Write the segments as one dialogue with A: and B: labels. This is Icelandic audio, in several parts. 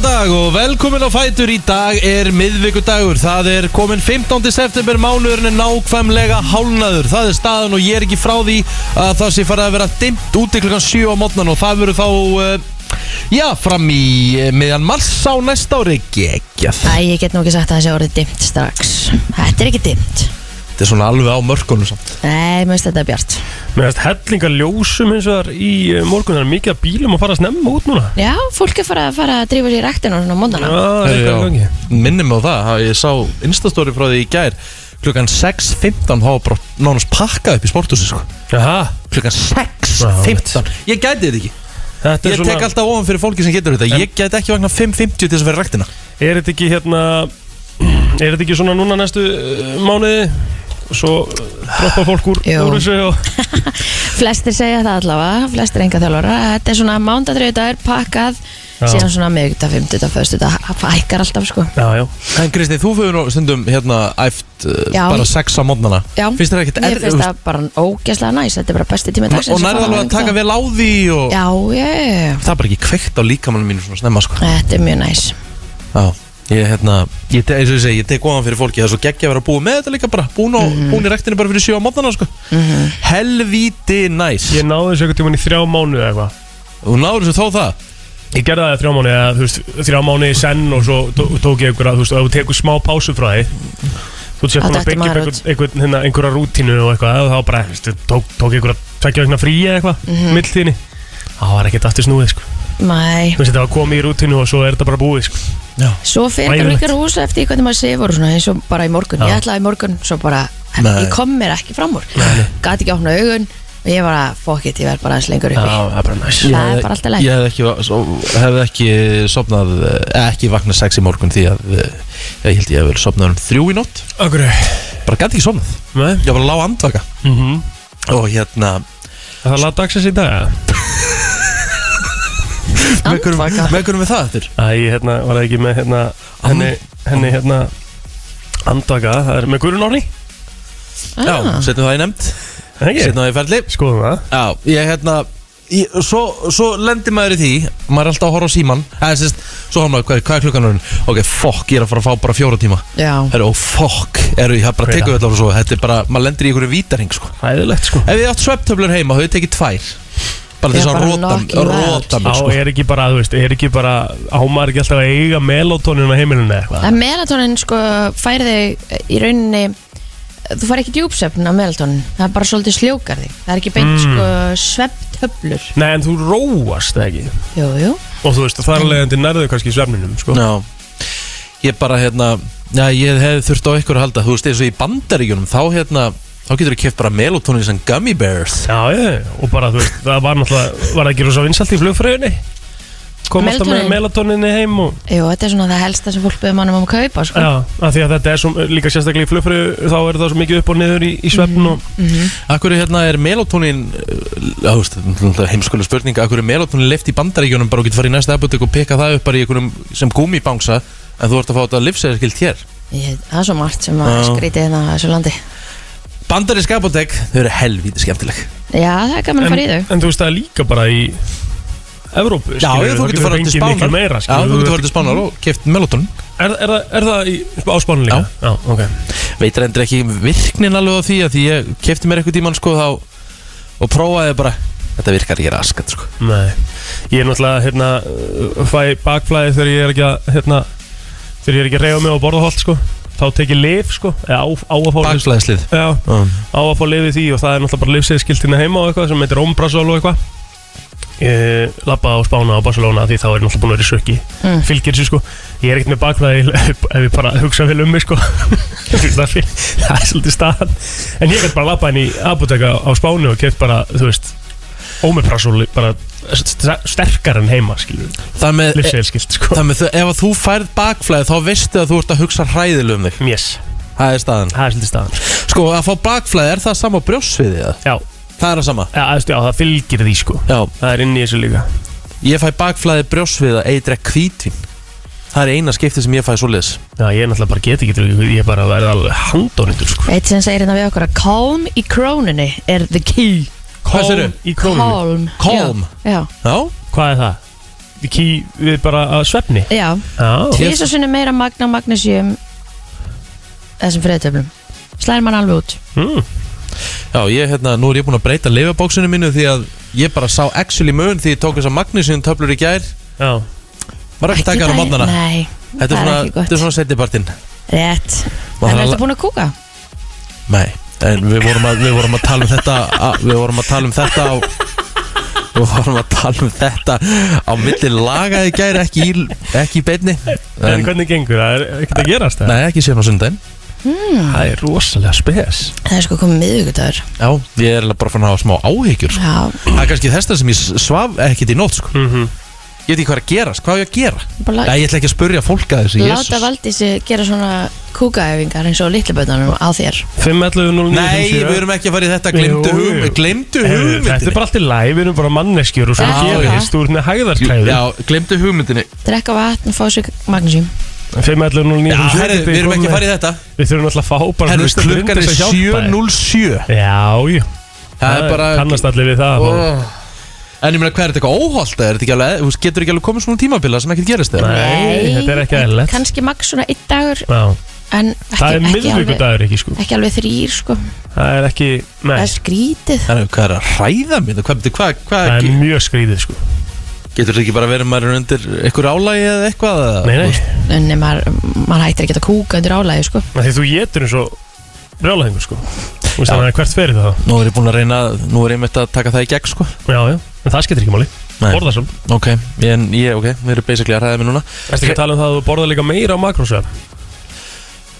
A: dag og velkomin á Fætur Í dag er miðvikudagur Það er komin 15. september Mánuðurinn er nákvæmlega hálnaður Það er staðan og ég er ekki frá því að það sé farið að vera dimmt úti klukkan 7 á mótnan og það verður þá uh, Já, fram í uh, miðjan mars á næsta ári Gekkjað
B: Æ, ég get nú ekki sagt að þessi orðið dimt strax Þetta er ekki dimt
A: Þetta er svona alveg á mörkunum samt
B: Nei, mér finnst þetta bjart
C: Mér finnst hellingar ljósum eins og þar í eh, morgun Það er mikið af bílum að fara að snemma út núna
B: Já, fólk er fara, fara að drífa sér í ræktinu og svona á mótana
C: Það er eitthvað í gangi
A: Minnum á það, það- ég sá instastóri frá því í gær Klukkan 6.15 hafa bara nánast pakkað upp í sporthúsi sko.
C: Jaha,
A: Klukkan 6.15 Ég gæti þetta ekki Ég
C: þetta er
A: tek
C: svona
A: alltaf ofan fyrir fólki sem getur þetta Ég get ekki vagnar 5.50 til þess að vera ræktina
C: Er þetta ekki hérna Er þetta ekki svona núna næstu uh, mánuði Og Svo droppa fólk úr,
B: Jú.
C: úr þessu og
B: Flestir segja það allavega, flestir enga þjálfara Þetta er svona mándadriðdagur pakkað
C: Já.
B: Síðan svona miðugdag, fimmtugdag, föstuddag Það hækkar alltaf sko
C: Já, já
A: En Kristi, þú fyrir nú stundum hérna æft uh,
B: Já.
A: bara 6 á mótnana
B: Já,
A: Finnst þér ekkert
B: Mér
A: erfitt?
B: finnst það bara ógeðslega næs Þetta er bara besti tími dagsins
A: Og
B: að fara
A: nærða
B: á
A: alveg að taka
B: miðvikudag.
A: vel á því og...
B: Já, ég
A: Það er bara ekki kveikt á líkamann mínu svona snemma sko
B: Þetta er mjög næs
A: Já Ég, hérna, ég, te- eins og ég segi, ég tek ofan fyrir fólki Það er svo geggja að vera að búa með þetta líka bara Búin, á,
B: Mhm.
A: búin í rektinni bara fyrir 7 á mótnana sko Helvíti næs
C: Ég náði þessu eitthvað tíman í þrjá mánuði eða eitthvað
A: Þú náður þessu þó það
C: Ég gerði það í þrjá mánuði eða þú veist, þrjá mánuði í senn og svo tó- tók ég einhverja, þú veist, ef þú tekur smá pásu frá því Þú veist, ég
B: Þá
C: búin að
B: dettur
C: byggja upp
B: maður
C: einhver, einhver, hérna, einhverja rútínu og eitthvað og þá bara, þú veist, tók, tók einhverja tveggja vegna frí eða eitthvað, mm -hmm. milltíðinni Það var ekkert aftur snúið, sko
B: Mæ,
C: Þú veist, þetta var komið í rútínu og svo er þetta bara búið, sko
B: svo fyrir það
C: Ægilegt.
B: líka rúsa eftir því hvernig maður sefur og svona, eins og bara í morgun, ég
C: Já.
B: ætlaði í morgun svo bara,
A: Nei.
B: ég kom mér ekki fram úr gati ekki opna augun og ég var að fokkitt, ég verð bara aðeins lengur uppi
C: það er bara næs
B: Það
A: Ég
B: er
A: hefði-
B: bara allt í lagi.
A: Ég hefði ekki, svo, hefði ekki sopnað, eh, ekki vaknað sex í morgun því að eh, ég held ég hefði verið sopnað um þrjú í nótt
C: Akkur
A: bara gæti ekki sopnað,
C: Nei,
A: ég var bara lág andvaka
C: mm -hmm.
A: og hérna
C: það er lagdagsins í dag, eða?
A: með hverjum-
B: Andvaka.
A: með hverjum við það eftir
C: Æ, hérna, var það ekki með, hérna, henni, henni, hérna Andaka, það er með Guðrun Orni,
A: Já,
B: Ah.
A: setjum það í nefnd,
C: ekki?
A: setjum það í ferli
C: Skoðum það
A: Já, ég hérna Ég, svo, svo lendir maður í því maður er alltaf að horfa á síman eða sérst, svo hann maður, hvað, hvað er klukkan orðin ok, fokk, ég er að fara að fá bara fjóra tíma
B: Já,
A: Heru, og fokk, er, ég hef bara
C: Hver er
A: tekið öll á þessu þetta er bara, maður lendir í einhverju vítarhing sko.
C: Hæðilegt, sko
A: Ef ég átt svefntöflur heima, þau tekið tvær Bara
B: Já,
A: þess að
B: bara
A: róta
B: knock you out.
A: Róta
C: Já,
A: mig, sko
C: er ekki bara, þú veist, er ekki bara ámar ekki alltaf að eiga melótónin á heimilinu eða eitthvað?
B: en melatonin sko færi þig í rauninni þú fari ekki djúpsefn á melatonin það er bara svolítið sljókar þig, það er ekki
C: Mm.
B: beint sko svefntöflur
C: Nei, en þú róast það ekki
B: Jú, jú,
C: Og þú veist, þar leðandi nærðu kannski í svefninum, sko
A: Já Ég bara, hérna Já, ég hef þurft á ykkur að halda Þú veist, eins og í bandaríkjunum Þá, hérna Þá getur þú keft bara melotónin sem gummy bears
C: Já, ég, og bara, þú veist, það var náttúrulega, var það ekki rosa vinsalt í flugfröðinni? Kom alltaf með
B: Melatonin.
C: melótóninni heim og
B: jú, þetta er svona það helsta sem fólk beður mannum um að kaupa sko.
C: Já, af því að þetta er svo, líka sérstaklega í flugfröðu Þá er það svo mikið upp og niður í, í
B: Mhm,
C: svefn og
A: Akkur, hérna, er melotónin Já, þú veist, þetta er heimskulega spurning Akkur er melotónin leift í bandaríkjunum Bara og getur farið í næsta apotek og peka það upp Bara í einhverjum sem gummibangsa En þú ert að fá þetta livsæðiskilt hér
B: ég, það er svo margt sem að
A: Já.
B: skrítið hérna á þessu landi
A: Bandarísk apotek, þau eru helvítið skemmtileg
B: Já, það er gaman að fara í þau
C: en, en þú veist, það er líka bara í Evrópu,
A: Já,
C: skilurðu,
A: ég,
C: þá
A: þú getur farið
C: fengið
A: til
C: miklu
A: spánar
C: meira,
A: Já, þú
C: skilurðu,
A: getur farið til spánar og keft melotónin
C: Er, er, það- er það í, á spánu líka?
A: Já.
C: Já ok
A: Veit reyndir ekki virknin alveg á því að Því ég kefti mér eitthvað tíman sko þá Og prófaði bara Þetta virkar ekki raskat sko
C: Nei, ég er náttúrulega hérna, uh, fæ bakflæði þegar ég er ekki að hérna, þegar ég er ekki að reyfa mig á borðaholt sko. þá tek ég lif sko, eða á, á að fá lyf-
A: Bakslæðislið
C: Já,
A: Ah.
C: á að fá lifið því og það er náttúrulega bara lifseðskiltina heima og eitthvað sem heitir Ombrasol og eitthvað ég labbaði á Spána og Barcelona því þá er ég náttúrulega búin að vera í sökki
B: Mm.
C: fylgir þessu sko, ég er ekkert með bakflæði ef ef ég bara hugsa vel um mig sko Þú veist, það er fín- það er svolítið staðan en ég gæti bara labbað inn í apoteka á Spánu og keft bara, þú veist Omeprazol bara st- sterkar en heima skilur,
A: Þar með, e,
C: lifseðskilt sko
A: þar með þau- ef að þú færð bakflæði Þá veistu að þú ert að hugsa hræðilega um þig
C: yes,
A: Það er staðan
C: það er svolítið staðan sko.
A: Sko að fá bakflæði er það sama á brjósviði eða?
C: já,
A: Það er það sama
C: eða, þú veist, já, það fylgir því sko
A: Já,
C: það er inn í þessu líka
A: ég fæ bakflæði brjósviða Eitri að hvítvin Það er eina skipti sem ég fæ svoleiðis
C: Já, ég er náttúrulega bara get ekki til því, ég er bara að verða alveg handónýttur, sko.
B: Eitt sem segir hérna við okkur að calm í krónunni er the key
A: Hvað segirðu?
C: Í krónum.
B: Calm
A: Calm?
B: Já, já.
A: Já,
C: Hvað er það? ký við bara að svefni
B: Já,
C: Já,
B: tvísa sinni meira magna magnesium þessum friðtöflum slæðir mann alveg út
C: mm.
A: Já, ég, hérna, nú er ég búinn að breyta lifabóksinu mínu því að ég bara sá actually mun því ég tók þess að Magnusinn töflur í gær
C: já
A: Var ekki taka hann á
B: daginn,
A: modnana
B: Nei,
A: Þetta er
B: það er
A: svona,
B: ekki gott.
A: þetta er svona setjipartinn
B: rétt
A: Maður
B: En
A: þarf
B: er
A: að-
B: þetta búin að kúka?
A: Nei, en við vorum að, við vorum að tala um þetta að, Við vorum að tala um þetta á Við vorum að tala um þetta á milli laga í gær ekki í, ekki í beinni
C: En,
A: en,
C: hvernig gengur, það er ekkert að gerast það
A: Nei, ekki síðan á sundaginn Hmm.
C: Það er rosalega spes
B: Það er sko komið miðvíkudagur
A: Já, ég er eiginlega bara fann að hafa smá áhyggjur sko.
B: Já,
A: Það er kannski þess að sem ég svaf ekkert í nótt sko.
C: mm
A: Ég veit ekki hvað er að gerast, hvað á ég að gera?
B: bara
A: Nei, ég ætla ekki að spurja fólk að þessu
B: láta
A: Jesus.
B: Valdísi gera svona kúkaæfingar eins og litlubötunum á þér
C: 511 09
A: Nei, við erum ekki að fara í þetta Glemdu
C: Jú, jú.
A: hugmynd Glemdu
C: Heyrðu, Þetta er
A: hugmyndinni
C: bara allt í læg, við erum bara manneskjur og svo
B: Já,
C: gerist, þú ert með hæðarklæði
A: Já, glemdu hugmyndinni Já,
B: drekka vatn, fá sér magnesium
C: 511 09
A: herri, við erum ekki að fara í þetta
C: Við þurfum alltaf að fá bara
A: Herru,
C: hlustendur
A: klukkan
C: til
A: er
C: þess að hjálpa þér.
A: 7.07
C: Já, já,
A: Það er bara
C: kannast allir við það
A: Ó.
C: oh.
A: En ég meina, hvað er þetta eitthvað óholt? Er þetta ekki alveg, þú veist, getur ekki alveg komið svona tímabila sem ekkert gerist þér?
C: Nei, þetta er ekki eðlilegt.
B: Kannski max svona einn dagur
C: Já,
B: En ekki,
C: það
B: ekki,
C: er
B: alveg,
C: miðvíkudagur ekki sko
B: ekki alveg þrýr sko
C: Það er ekki, nei,
B: Það er skrítið
A: Þannig, hvað er að ræða mér? Hvað, byrju, hvað, hvað
C: það er
A: ge-
C: mjög skrýðið sko
A: getur þetta ekki bara verið maður er undir einhver álægi eða eitthvað? eða,
C: Nei,
A: þú
C: nei,
A: veist?
B: En ef maður, maður hættir ekki að kúka undir álæði sko
C: af því þú getur eins og brjálæðingur sko Þú veist
A: Já.
C: þannig að hvert fyrir það
A: Nú er ég búin að reyna, nú er ég mitt að taka það í gegn, sko.
C: Já, já, en það skiptir ekki máli
A: Nei.
C: Borða svo
A: Ok, en ég, ok, við erum basically að ræða mér núna.
C: Ertu ekki að tala um það að þú borða líka meira á makrósvega?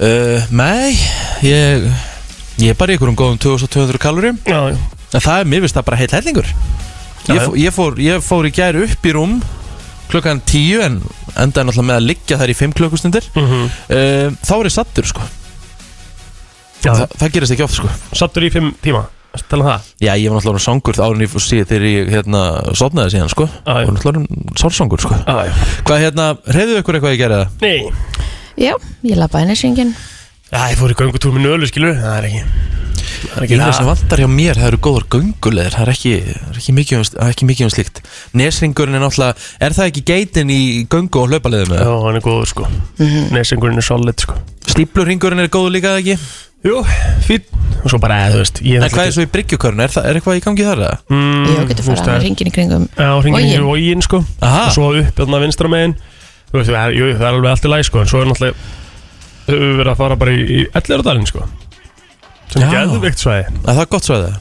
A: Uh, nei, ég, ég er bara í einhverjum góðum 2200 kaloríum
C: Já, já
A: En það er, mér finnst það bara heill hellingur
C: Já,
A: ég,
C: já.
A: fó, ég, fór, ég fór í gær upp í rúm klukkan 10 en endaði náttúrulega með að liggja þær í 5 klukkustundir
C: Mhm.
A: uh, Þá er ég sattur sko
C: Já,
A: Þa, sko. Það gerist ekki oft sko
C: sattur í fimm tíma Ertu að tala um það?
A: Já, ég var náttúrulega orðinn svangur árin ég fór síðan þegar ég hérna sofnaði síðan sko
C: Já, já.
A: Og náttúrulega orðinn sársangur sko
C: Já, já
A: Hvað hérna, reyðu ykkur eitthvað ég gerði það?
C: Nei
B: Já, ég labbaði nesringin
C: Já, ég fór í göngutúr með nölu, skilur Það er ekki Það er ekki
A: Eina sem vantar hjá mér, það eru góðar gönguleðir Það er ekki, það er ekki, mikið, um, það er ekki mikið um slíkt Nesringurinn er náttúrulega, er það ekki geitin í göngu og hlaupaleðum?
C: Já,
A: eða?
C: hann er góður sko
B: Mhm.
C: Nesingurinn er solid sko
A: Stíplurringurinn er góð líka eða ekki?
C: Jú, fín Og svo bara, eða, þú veist ég
A: En hvað er svo í bryggjukörn? Er, það- er eitthvað í gangi þar eða?
C: Mm,
B: Ég getur
C: þú
B: farið
C: veist,
B: að
C: það er-
B: ringin í kringum
C: Já, hringin í vógin sko
A: Aha.
C: Og svo upp þarna vinstra megin Þú veist, það er, jú, það er alveg allt í læg sko En svo er náttúrulega Þau hefur verið að fara bara í, í Elliðardalinn sko Sem
A: Já.
C: geðvikt svæði
A: Að það er gott svo eða?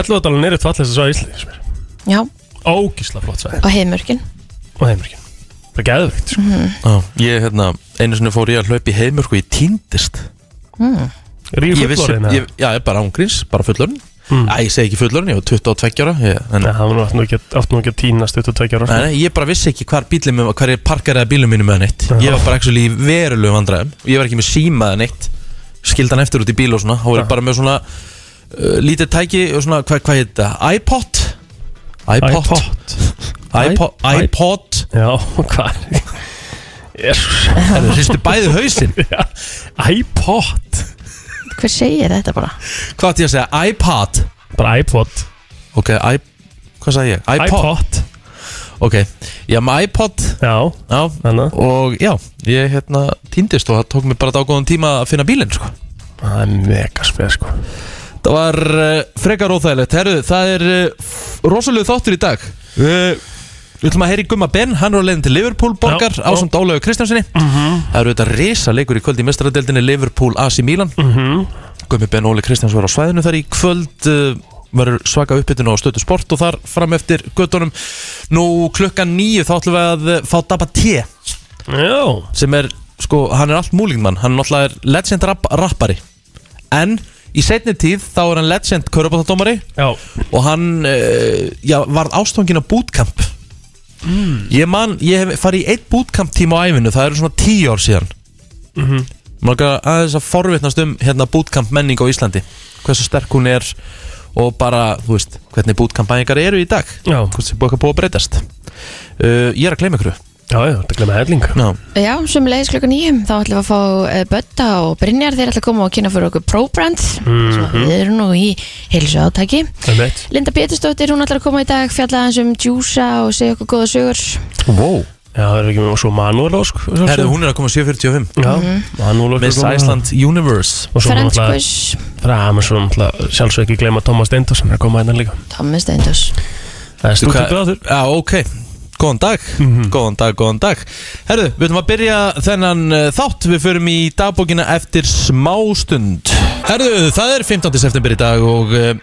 C: Elliðardalinn er eitt fallist svæði í Íslandi sem er
B: Já,
C: Ógísla flott svæði
B: á heimörkin
C: Og heimurkin Það er geðvikt sko
B: Mhm,
A: Já, ég hérna, einu sinni fór ég að hlaupa í heimörku ég týndist
B: mhm.
C: Ríf
A: ég vissi,
C: fullorðin eða?
A: ég, Já, ég bara ángríns, bara fullorinn
C: Mm.
A: Æ, ég segi ekki fullorinn, ég var 22 ára ég, en,
C: Nei, Það var nú átt nú ekki að- átt nú ekki að týnast Þetta tækja ára sko.
A: nei, nei, ég bara vissi ekki hvar bílum minn, hvar ég parkeraði bílum mínum með neitt Ég var bara actually í verulegu vandræðum Ég var ekki með símaða neitt Skildi hann eftir út í bíl og svona Há var ég bara með svona uh, lítið tæki og svona, hvað hva heit þetta? iPod? iPod? iPod?
C: iPod.
A: iPod?
C: Já, hvað Jesus.
A: Það hristu bæði hausinn
C: Já, iPod
B: Hver segir þetta bara?
A: Hvað átti ég að segja? iPod?
C: Bara iPod
A: Ok, I, hvað sagði ég? iPod,
C: iPod
A: Ok, ég haf með iPod
C: Já, Hérna.
A: Já
C: þannig
A: Og já, ég hérna týndist og það tók mér bara dágóðan tíma að finna bílinn sko
C: Það er mega spes sko
A: Það var uh, frekar óþægilegt Herru, það er uh, rosalega þáttur í dag
C: Eh.
A: uh, Við ætlum að heyri Gumma Ben, hann er á leiðin til Liverpool borgar
C: Já, já.
A: ásamt Ólaugur Kristjánsinni Það eru þetta risa leikur í kvöld í mestaradeldinni Liverpool AC Milan
C: Mhm.
A: Gummi Ben Óli Kristjáns var á svæðinu þar í kvöld uh, verður svaka uppbytun á stötu sport og þar fram eftir göttunum Nú klukkan nýju þá ætlum við að uh, fá Dabba T
C: Já
A: sem er, sko, hann er allt múlingmann hann náttúrulega er legend rap rappari en í setni tíð þá er hann legend körubátadómari
C: Já
A: og hann uh, já, varð ástóngin á bootcamp ég man, ég hef farið í eitt bootcamp tíma á æfinu, það eru svona tíu ár síðan maður mm aðeins að forvitnast um hérna bootcamp menning á Íslandi hversu sterk hún er og bara, þú veist, hvernig bootcamp bæningar eru í dag
C: Já.
A: hvort sem búið eitthvað búið að breytast uh, ég er að gleyma ykkur
C: Já, já, þetta glemir helling
A: Já,
B: Já, sem leiðis klukkan nýjum þá ætlum við að fá uh, Bötta og Brynjar þeir ætlum að koma og kynna fyrir okkur ProBrand mm
C: Mhm.
B: -hmm. við erum nú í heilsu átaki
C: Það er mitt
B: Linda Pétursdóttir, hún ætlar að koma í dag fjalla hans um djúsa og segja okkur góða sögur
A: wow
C: Já, það er ekki með og svo Manuel Ósk
A: Herðu, hún er að koma 7.45
C: Já, Manuel Ósk er
A: Miss
C: kominn.
A: Iceland Universe
C: Og svo
B: Friends
C: náttúrulega
B: Quiz,
C: Fram, svo náttúrulega Sjálfsög ekki gleyma Thomas Stendos Hann er að koma hérna líka
B: Thomas Steindors
C: Það er
A: Þú
C: stútið
A: hvað-
C: bráður
A: Já, ok, góðan dag
C: Mhm.
A: Góðan dag, góðan dag Herðu, við ætlum að byrja þennan uh, þátt Við förum í dagbókina eftir smástund Herðu, það er 15. september í dag og uh,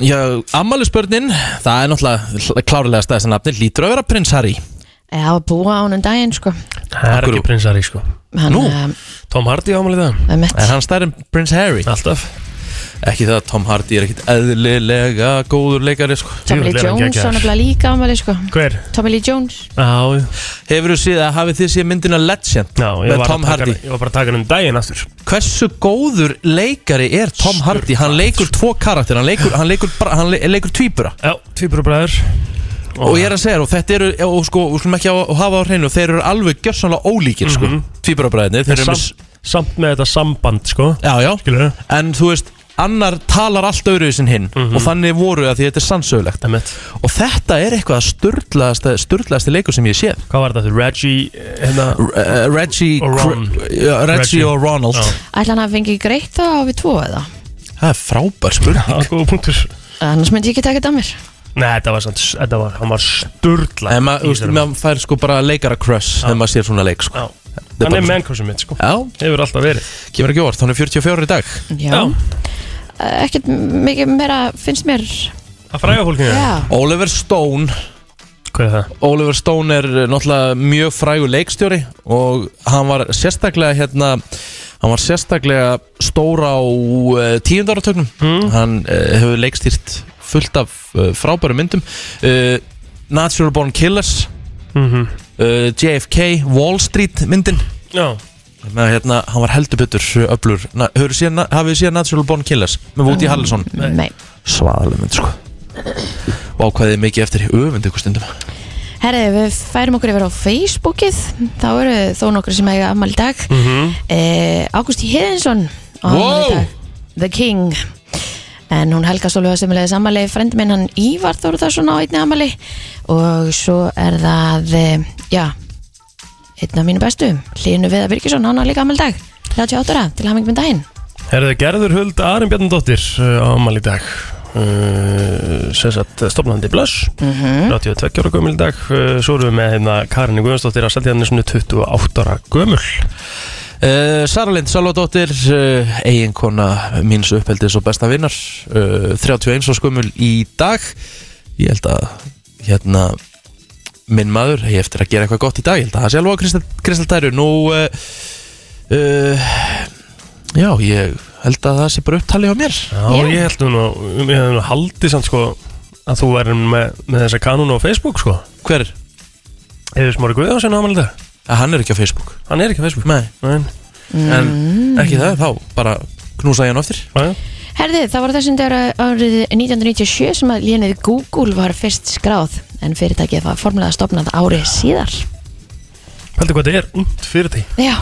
A: Já, ammælisbörnin, það er náttúrulega klárlega stæðast að nafni, lítur að vera prins Harry
B: Já, að búa á hann um daginn sko
C: Það er
A: Akkurú.
C: ekki prinsari, sko
B: hann,
A: Nú?
B: eh,
C: Tom Hardy ámalið það
B: er mitt
A: Er hann stærri en prins Harry?
C: Alltaf
A: Ekki það að Tom Hardy er ekkit eðlilega góður leikari sko.
B: Tommy Lee
C: Djöfull er hann
B: Jones,
C: geggjaður.
B: hann er bara líka ámæli sko
C: Hver?
B: Tommy Lee Jones
C: Já,
A: Hefur þú séð að hafið þið séð myndina Legend
C: já ég
A: með
C: var að
A: Tom
C: taka
A: Hardy
C: hann- Ég var bara að taka hann um daginn aftur
A: Hversu góður leikari er Tom Hardy? Hann leikur tvo karakter, hann leikur, hann leikur, bra- hann le- leikur tvíbura
C: Já, tvíburu bræður
A: Og ég er að segja þér, og þetta eru, og sko, við skulum ekki hafa hafa á hreinu Þeir eru alveg gjörsamlega ólíkir sko,
C: Mhm.
A: tvíburabræðinir Þeir eru með, s-
C: samt, samt með þetta samband, sko
A: já já,
C: Skilur
A: en þú veist, annar talar allt öðruðið sinn hinn
C: Mhm.
A: Og þannig voru að því þetta er sannsögulegt
C: Það er mitt
A: Og þetta er eitthvað að sturdlaðasti leikur sem ég hef séð
C: Hvað var þetta? aftur? Reggie, hérna
A: R- uh, Reggie
C: Og Ron.
A: Cr- Já, Reggie
C: Reggie.
A: og Ronald
C: Já.
B: Ætla hann að fengi greitt þá á við tvo eða
A: Það er frábær
C: Já,
A: spurning
C: góða punktur
B: annars myndi ég ekki taka þetta að mér
C: Nei, þetta var samt, þetta var, hann var sturdla
A: En maður, þú veist, maður fær sko bara leikara crush Þegar maður sér svona leik sko
C: Já,
A: er
C: hann
A: bara-
C: er mennkursum mitt, sko
A: Já,
C: Hefur alltaf verið
A: kemur ekki orð, hann er 44 í dag
B: Já,
C: Já.
B: Eh, Ekkert mikið meira finnst mér
C: Að fræga fólkinu
B: Já,
A: Oliver Stone
C: Hvað er það?
A: Oliver Stone er eh, náttúrulega mjög frægur leikstjóri Og hann var sérstaklega hérna Hann var sérstaklega stór á uh, tíundaratögnum
C: Hmm.
A: mm. Hann uh, hefur leikstýrt fullt af uh, frábæru myndum uh, Natural Born Killers
C: Mm
A: uh, JFK Wall Street myndin
C: Já,
A: með hérna, hann var heldur betur öflur, Na, hefur séð, na- hafið þið séð Natural Born Killers með Woody Harrelson
B: nei
A: svaðaleg mynd sko og ákvæðið mikið eftir í öfund ykkur stundum
B: Herði, við færum okkur yfir á Facebookið Þá eru þó nokkur sem eiga afmæli í dag mm -hmm. Ágústi Híðinsson
A: Wow!
B: The King En hún Helga Sólfjóða sem leiðis ammali Frendi minn hann Ívar Þórðarsson á einni ammali Og svo er það eh, Já Einn af mínu bestu Hlínu Viða Birgisson, hann á líka ammali dag 38 ára, til hamingi með daginn
C: er það Gerður Huld Arin Bjarnadóttir uh, ámæli í dag uh, Sessat stopnandi blöss mm -hmm. 82 ára gömul í dag uh, Svo erum við með hérna Karinni Guðjónsdóttir að selja henni 28 ára gömul
A: uh, Sara Lind Salvadóttir uh, eiginkona míns uppeldis og besta vinnar uh, 31 og skumul í dag ég held að hérna minn maður, ég eftir að gera eitthvað gott í dag ég held að það sé alveg á Kristal- kristaltæru nú uh, uh, já, ég held að það sé bara upptalið á mér
C: Já,
B: Já.
C: ég held nú Ég held nú haldið samt, sko að þú væri með, með þessa kanun á Facebook, sko
A: hver er?
C: Hefur smári Guðjónsson ámæli í dag
A: að hann er ekki á Facebook
C: Hann er ekki á Facebook
A: Nei,
C: Nei,
A: en ekki það, þá bara knúsa ég hann aftur
C: já, já.
B: Herði, það var þessum dagur árið 1997 sem að lénið Google var fyrst skráð en fyrirtækið var formulega stopnað árið síðar.
C: Heldur hvað þetta er ungt fyrir því
B: Já,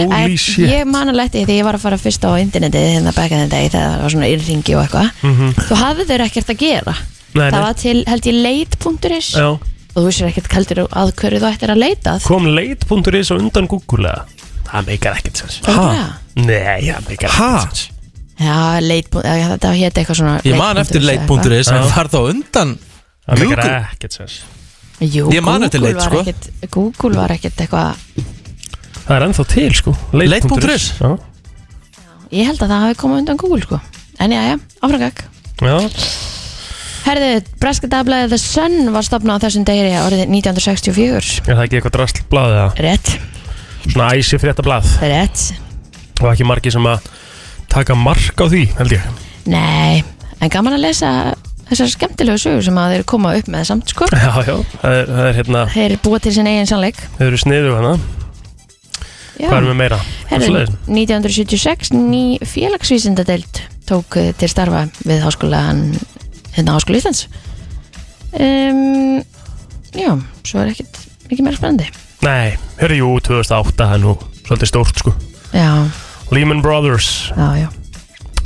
B: en
C: Holy shit
B: ég man alveg eftir því þegar ég var að fara fyrst á internetið hérna baka þenn dag þegar það var svona yrringi og eitthvað.
C: Mhm.
B: Þú hafði þeir ekkert að gera.
C: Nei,
B: það
C: nei.
B: var til, held ég, leit.is
C: Já,
B: og þú vissir ekkert kaldur að hverju þú ættir að leitað.
C: kom leit.is á undan Google eða? Það meikar ekkert sens
B: Ha?
C: Nei, það meikar
A: Ha?
C: ekkert sens
B: Já, leit. Já, þetta hétt eitthvað svona
A: Ég man eftir
B: eða eitthvað.
A: leit.is en
C: Já.
A: var þá undan
C: Það meikar
A: Google.
C: ekkert sens
B: Jú,
A: Ég man eftir
B: Google
A: leit,
B: var
A: sko.
B: ekkert- Google var ekkert eitthvað
C: Það er ennþá til sko
A: Leit.is.
C: Já,
B: Ég held að það hafi komið undan Google sko En já, já, áframgag
C: já
B: Herðu, breska dagblæðið The Sun var stopnað á þessum degri árið 1964
C: Er það ekki eitthvað drastl blað eða?
B: Rétt,
C: Svona æsi frétta blað
B: rétt
C: Og ekki margi sem að taka mark á því, held ég
B: Nei, en gaman að lesa þessar skemmtilegu sögur sem að þeir koma upp með samt sko
C: Já, já, það er, það er hérna
B: Þeir búa til sinn eigin sannleik
C: Þau eru sniðu hana
B: Já.
C: Hvað er með meira?
B: Herðu,
C: Svoleiðis.
B: 1976 ný félagsvísindadeild tók eh, til starfa við háskólan hérna háskóla Íslands um, Já, svo er ekkit mikið meira spennandi
C: Nei, hörru, jú, 2008, það er nú svolítið stórt, sko
B: já,
C: Lehman Brothers,
B: já, já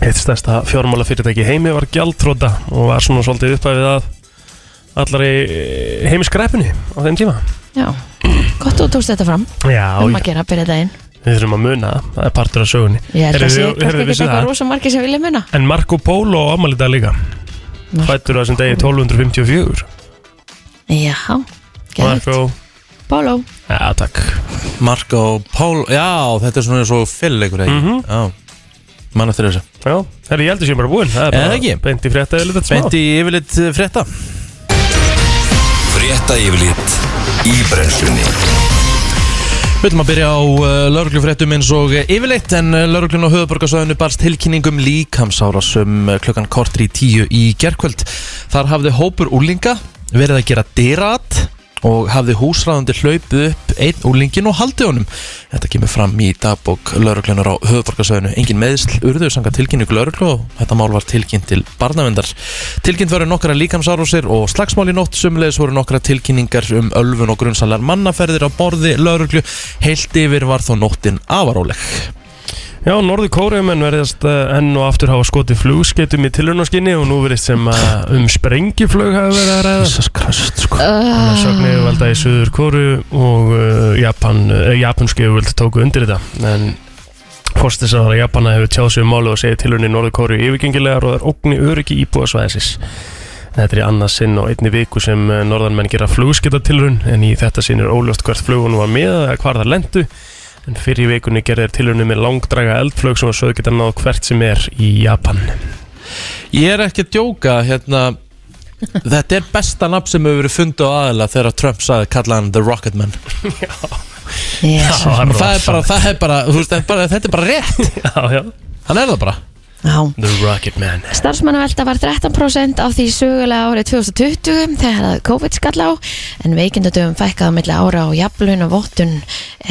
C: eitt stærsta fjármála fyrirtæki heimi var gjaldtróta og var svona svolítið upphæfið að allari heimisgræpunni á þeim tíma
B: Já, gott þú tókst þetta fram
C: Já,
B: um að gera að byrja daginn
C: við þurfum að muna það, það er partur af sögunni
B: Ég held að
C: Heyrðu,
B: sé
C: heyrðu,
B: kannski ekki
C: vissuð
B: eitthvað
C: það?
B: rosa margir sem vilja muna
C: En Marco Polo á afmæli í dag líka Fættur á þessum degi 1254
B: Já, gett
C: Marco
B: Bóló,
C: Já, takk
A: Marko Pól, já, þetta er svona eins og fyll einhver ekki
C: Mhm.
A: Já, mann eftir þessu
C: Já, herri, ég held að sé bara búinn Það
A: Er það ekki?
C: beint í frétta eða litið smá
A: Beint í yfirleitt eh, frétta
D: Frétta yfirlit í brennslunni
A: Við ætlum að byrja á uh, lauruglufréttum eins og eh, yfirleitt en uh, lauruglun á höfuborgarsöðinu barst tilkynningum líkamsára sem uh, klukkan kortri í tíu í gerkvöld. Þar hafði hópur úlinga verið að gera dyrat og hafði húsræðandi hlaupið upp einn úlingin og haldið honum. Þetta kemur fram í dagbók lauruglunar á höfuborgarsöðinu. Engin meðsl urðu sanga tilkynningu lauruglu og þetta mál var tilkynnt til barnavendar. Tilkynnt voru nokkra líkamsárásir og slagsmál í nótt sumleis voru nokkra tilkynningar um ölfun og grunnsalar mannaferðir á borði lauruglu. Heilt yfir var þó nóttin afaróleg.
C: Já, norður kóriðumenn verðast uh, enn og aftur hafa skotið flugskeitum í tilhörnarskinni og nú verðist sem að um sprengiflug hafa verið að ræða
A: Jesus Christ, sko.
C: Þannig að sögnu yfirvalda í Suður Kóru og uh, Japan, uh, japansku yfirvalda tóku undir þetta en fórstisar að Japana hefur tjáð sig um málu og segið tilhörni Norður Kóru yfirgengilegar og það er ógni öryggi íbúðasvæðisins Þetta er í annað sinn og einni viku sem uh, norðanmenn gera flugskiptatilrun en í þetta sinn er óljóst hvert flugun var með eða hvar það lendu en fyrir í vikunni gerðir tilrunni með langdraga eldflug sem var sögð geta náð hvert sem er í Japan
A: Ég er ekki að djóka, hérna, þetta er besta nafn sem hefur verið fundið á aðila þegar Trump sagði kalla hann The Rocketman.
B: yes
A: Og Það er bara, það er bara, þú veist, það er bara, þetta er bara rétt.
C: Já, já,
A: Hann er það bara.
B: Já,
C: The Rocket Man
B: Starfsmannavelta var 13% á því sögulega árið 2020 þegar að COVID skall á en veikindadöfum fækkaða milli ára og jafnlun og vottun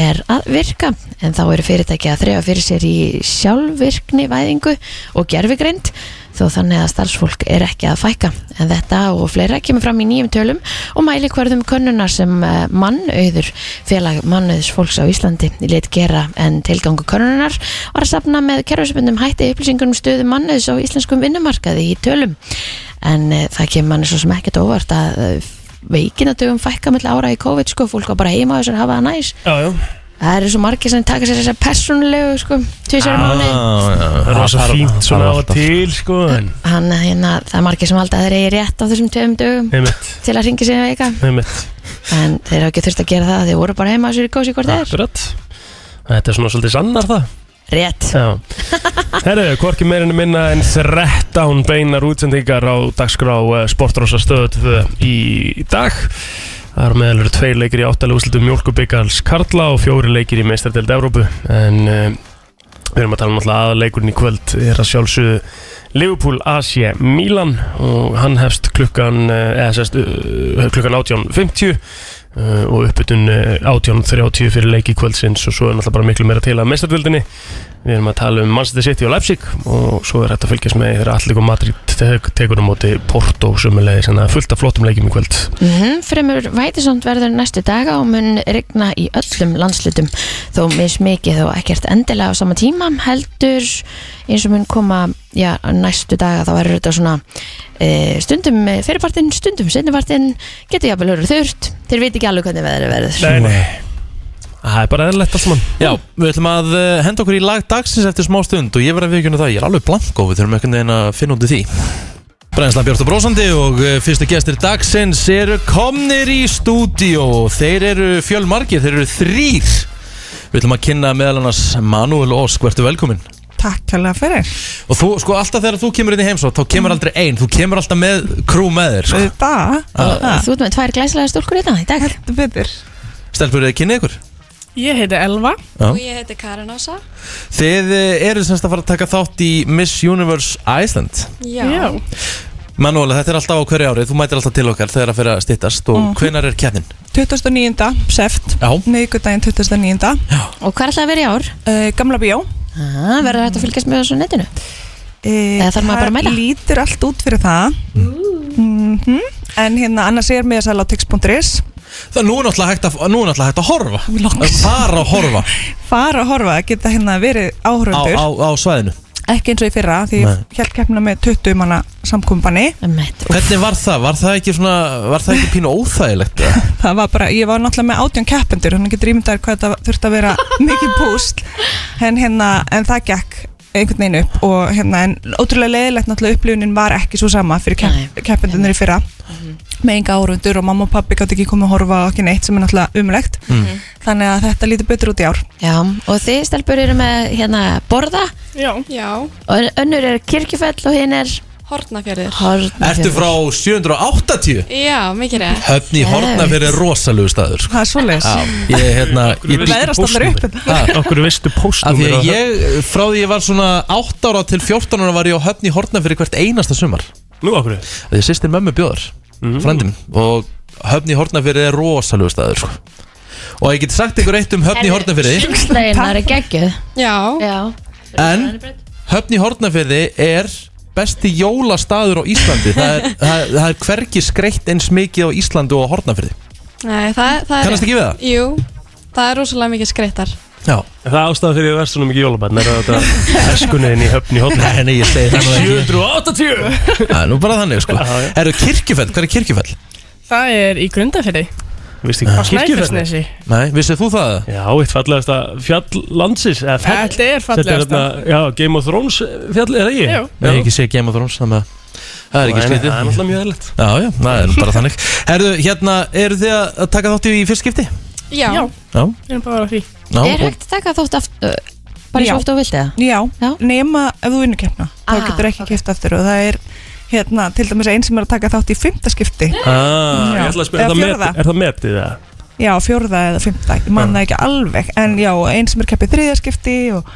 B: er að virka en þá eru fyrirtæki að þrefa fyrir sér í sjálfvirkni væðingu og gerfigreind þó þannig að starfsfólk er ekki að fækka en þetta og fleira kemur fram í nýjum tölum og mæli hverðum könnunar sem eh, mannauður félag mannauðs fólks á Íslandi lit gera en tilgangu könnunar var að safna með kerfisbundum hætti upplýsingum um stöðu mannauðs á íslenskum vinnumarkaði í tölum en eh, það kemur manni svo sem ekkert á óvart að eh, veikindadögum fækka mill ára í COVID sko, fólk var bara heima og þessar hafa það næs
C: Já, já
B: það eru svo margir sem taka sér þessar persónulegu sko, tvisar ah. mánuði
A: Það
C: Það er rosa fínt svona á og til sko en
B: hann hérna, það er margir sem halda að þeir eigi rétt á þessum tveim dögum
C: einmitt,
B: til að ringi sig veika
C: einmitt
B: en þeir hafa ekki þurft að gera það þeir voru bara heima á sér í kósi hvort þeir
C: Akkurat Þetta er svona svolítið sannar það
B: rétt
C: Já Herðu, hvorki meirinu minna en 13 beinar útsendingar á dagskrá eh, Sportrosa stöðu í dag Það eru meðal eru tveir leikir í áttalega úrslutum Mjólkubikarls Karla og fjóri leikir í meistardeld Evrópu En uh, við erum að tala um alltaf aðaleikurinn í kvöld er að sjálfsögðu Liverpool AC Milan og hann hefst klukkan eh, eða sérst eh, klukkan 18.50 eh, og uppbytun eh, 18.30 fyrir leiki kvöldsins og svo er náttúrulega bara miklu meira til að mestardöldinni við erum að tala um Manchester City og Leipzig og svo er hægt að fylgjast með þegar Allík og Madrid tek- tekur á móti Porto sumulegði þannig að fullt af flottum leikim í kvöld
B: mm Fremur Vætisond verður næstu daga og mun regna í öllum landslutum þó mis mikið og ekkert endilega á sama tíma heldur eins og mun koma já, næstu daga þá verður þetta svona e, stundum fyrirpartinn, stundum sinnipartinn getur jafnvel verið þurft þeir veit ekki alveg hvernig veður verður
C: Nei, nei Það er bara eðlætt allt saman
A: Já, við ætlum að eh, henda okkur í lag dagsins eftir smá stund og ég verð að viðkjöna það, ég er alveg blank og við þurfum einhvern veginn að finna út í því Brænslan Björn og Brósandi og eh, fyrstu gestir dagsins eru komnir í stúdíó og þeir eru fjölmargir, þeir eru þrýr Við ætlum að kynna meðal annars Manuel Ósk, verður velkominn
E: Takk hérlega fyrir Mm.
A: Og þú, sko, alltaf þegar þú kemur inn í heimsótt, þá kemur aldrei einn, þú kemur alltaf með krú með þér sko.
E: Þetta
B: Ah. Þú ert með tvær glæslega stúlkur hérna í dag í dag
E: Heldur betur
A: Stelpur, þið kynni ykkur
E: Ég heiti Elva
A: Já.
F: Og ég heiti Karin Ása.
A: Þið eh, eru semst að fara að taka þátt í Miss Universe Iceland
F: Já.
A: Manúela, þetta er alltaf á hverju árið, þú mætir alltaf til okkar þegar að fyrir að stýttast
E: Mhm.
A: og mm. hvenar er keppnin?
E: 29. seft
A: Já.
E: Miðgudaginn 29.
B: og hvað er alltaf að vera í ár?
E: Uh, gamla bíó
B: Ah, verður þetta að fylgjast með þessu á netinu?
E: uh,
B: Eða þarf maður bara að mæta?
E: Mhm. lítur allt út fyrir það mm En hérna annars er mér sæl á tix.is
A: Það nú er náttúrulega hægt að, nú er náttúrulega hægt að horfa
E: Loks.
A: Bara að horfa
E: fara að horfa, geta hérna verið
A: á,
E: áhörundur
A: á, á svæðinu
E: ekki eins og í fyrra því
A: Nei.
E: ég held keppna með 20 manna samkumpani
B: Einmitt.
A: Hvernig var það? Var það ekki, svona, var það ekki pínu óþægilegt? eða?
E: það var bara, ég var náttúrulega með átjón keppendur þannig getur ímyndaður hvað þetta þurfti að vera mikið púst en, hérna, en það gekk einhvern veginn upp og hérna, en ótrúlega leiðilegt náttúrulega upplifunin var ekki svo sama fyrir kepp,
B: Nei. mhm.
E: keppendunir í fyrra með enga árundur og mamma og pabbi gátt ekki komið að horfa og ekki neitt sem er náttúrulega umlegt
D: Mm.
E: þannig að þetta lítur betur út í ár
B: Já, og þið stelpur eru með hérna borða
E: Já,
F: Já,
B: og önnur er kirkjufell og hinn er
F: hornafjörður
A: Ertu
B: Hornafjörður.
A: frá 780?
F: Já, mikið rétt
A: Höfni í Hortnafjörði er rosalegu staður sko.
E: það er svoleiðis
A: Já, ég, hérna, ég
E: Veðrast allar upp hérna. þetta.
A: Ha,
C: Okkur veistu
A: Af
C: póstum
A: því að ég, frá því ég var svona 8 ára til 14 ára var ég á höfni í Hortna fyrir hvert einasta sumar
C: Nú Mhm. okkur
A: Af Því að sýstir mömmu bjóðar, mm. frændin Og höfni í Hortna fyrir er rosalegu staður sko. Og ég get sagt ykkur eitt um höfni í Hortna fyrir
B: Sundlaugin er geggjuð
F: Já,
B: Já,
A: En höfni í Hortna fyrir er besti jólastaður á Íslandi Það er, það, það er hvergi skreitt eins mikið á Íslandi og á Hortna fyrir
F: Nei, það, það er
A: Kannast ekki við það?
F: Jú, það er rosalega mikið skreittar
A: Já
C: Það er ástæðan fyrir að verða svona mikið jólabann Er að þetta eskunniðin í höfn í hófn
A: Nei, nei, ég segi það nú ekki
C: 780
A: Það er nú bara þannig sko
C: Já, já.
A: Erðu kirkjufell, hvað er kirkjufell? Ah.
G: Það er í grundafyrði
C: Vist ekki
G: á Snæfellsnesi
A: Nei, vissið þú það?
C: Já, eitt fallegasta fjall landsins eða fell
G: Þetta er
C: Þetta er
G: fallegasta
C: þarna- Já, Game of Thrones fjall er það ekki?
G: Jú.
A: Nei, ég hef ekki sé Game of Thrones þannig að það er ekki
C: Nei, nei, Það er
A: slítið
C: náttúrulega mjög eðlert
A: Já, já, það er bara þannig Herðu, hérna, eru þið að að taka þátt í fyrst skipti?
F: Já,
G: Já.
A: Já,
G: Við erum bara á því
A: já
B: er hægt að taka þótt aftur bara
E: Já.
B: svo oft og vilt eða?
E: Já,
B: Já.
E: nema ef þú vinnur keppna þá
B: Ah,
E: getur ekki okay. keppt aftur og það er hérna, til dæmis einn sem er að taka þátt í fymta skipti Já.
C: Ah, ég ætla að spyrja,
E: Eða
C: er það
E: fjórða?
C: met- Er það Ah. metið það?
E: Já, fjórða eða fymta, ég man það ekki alveg En já, einn sem er keppið þriðaskipti og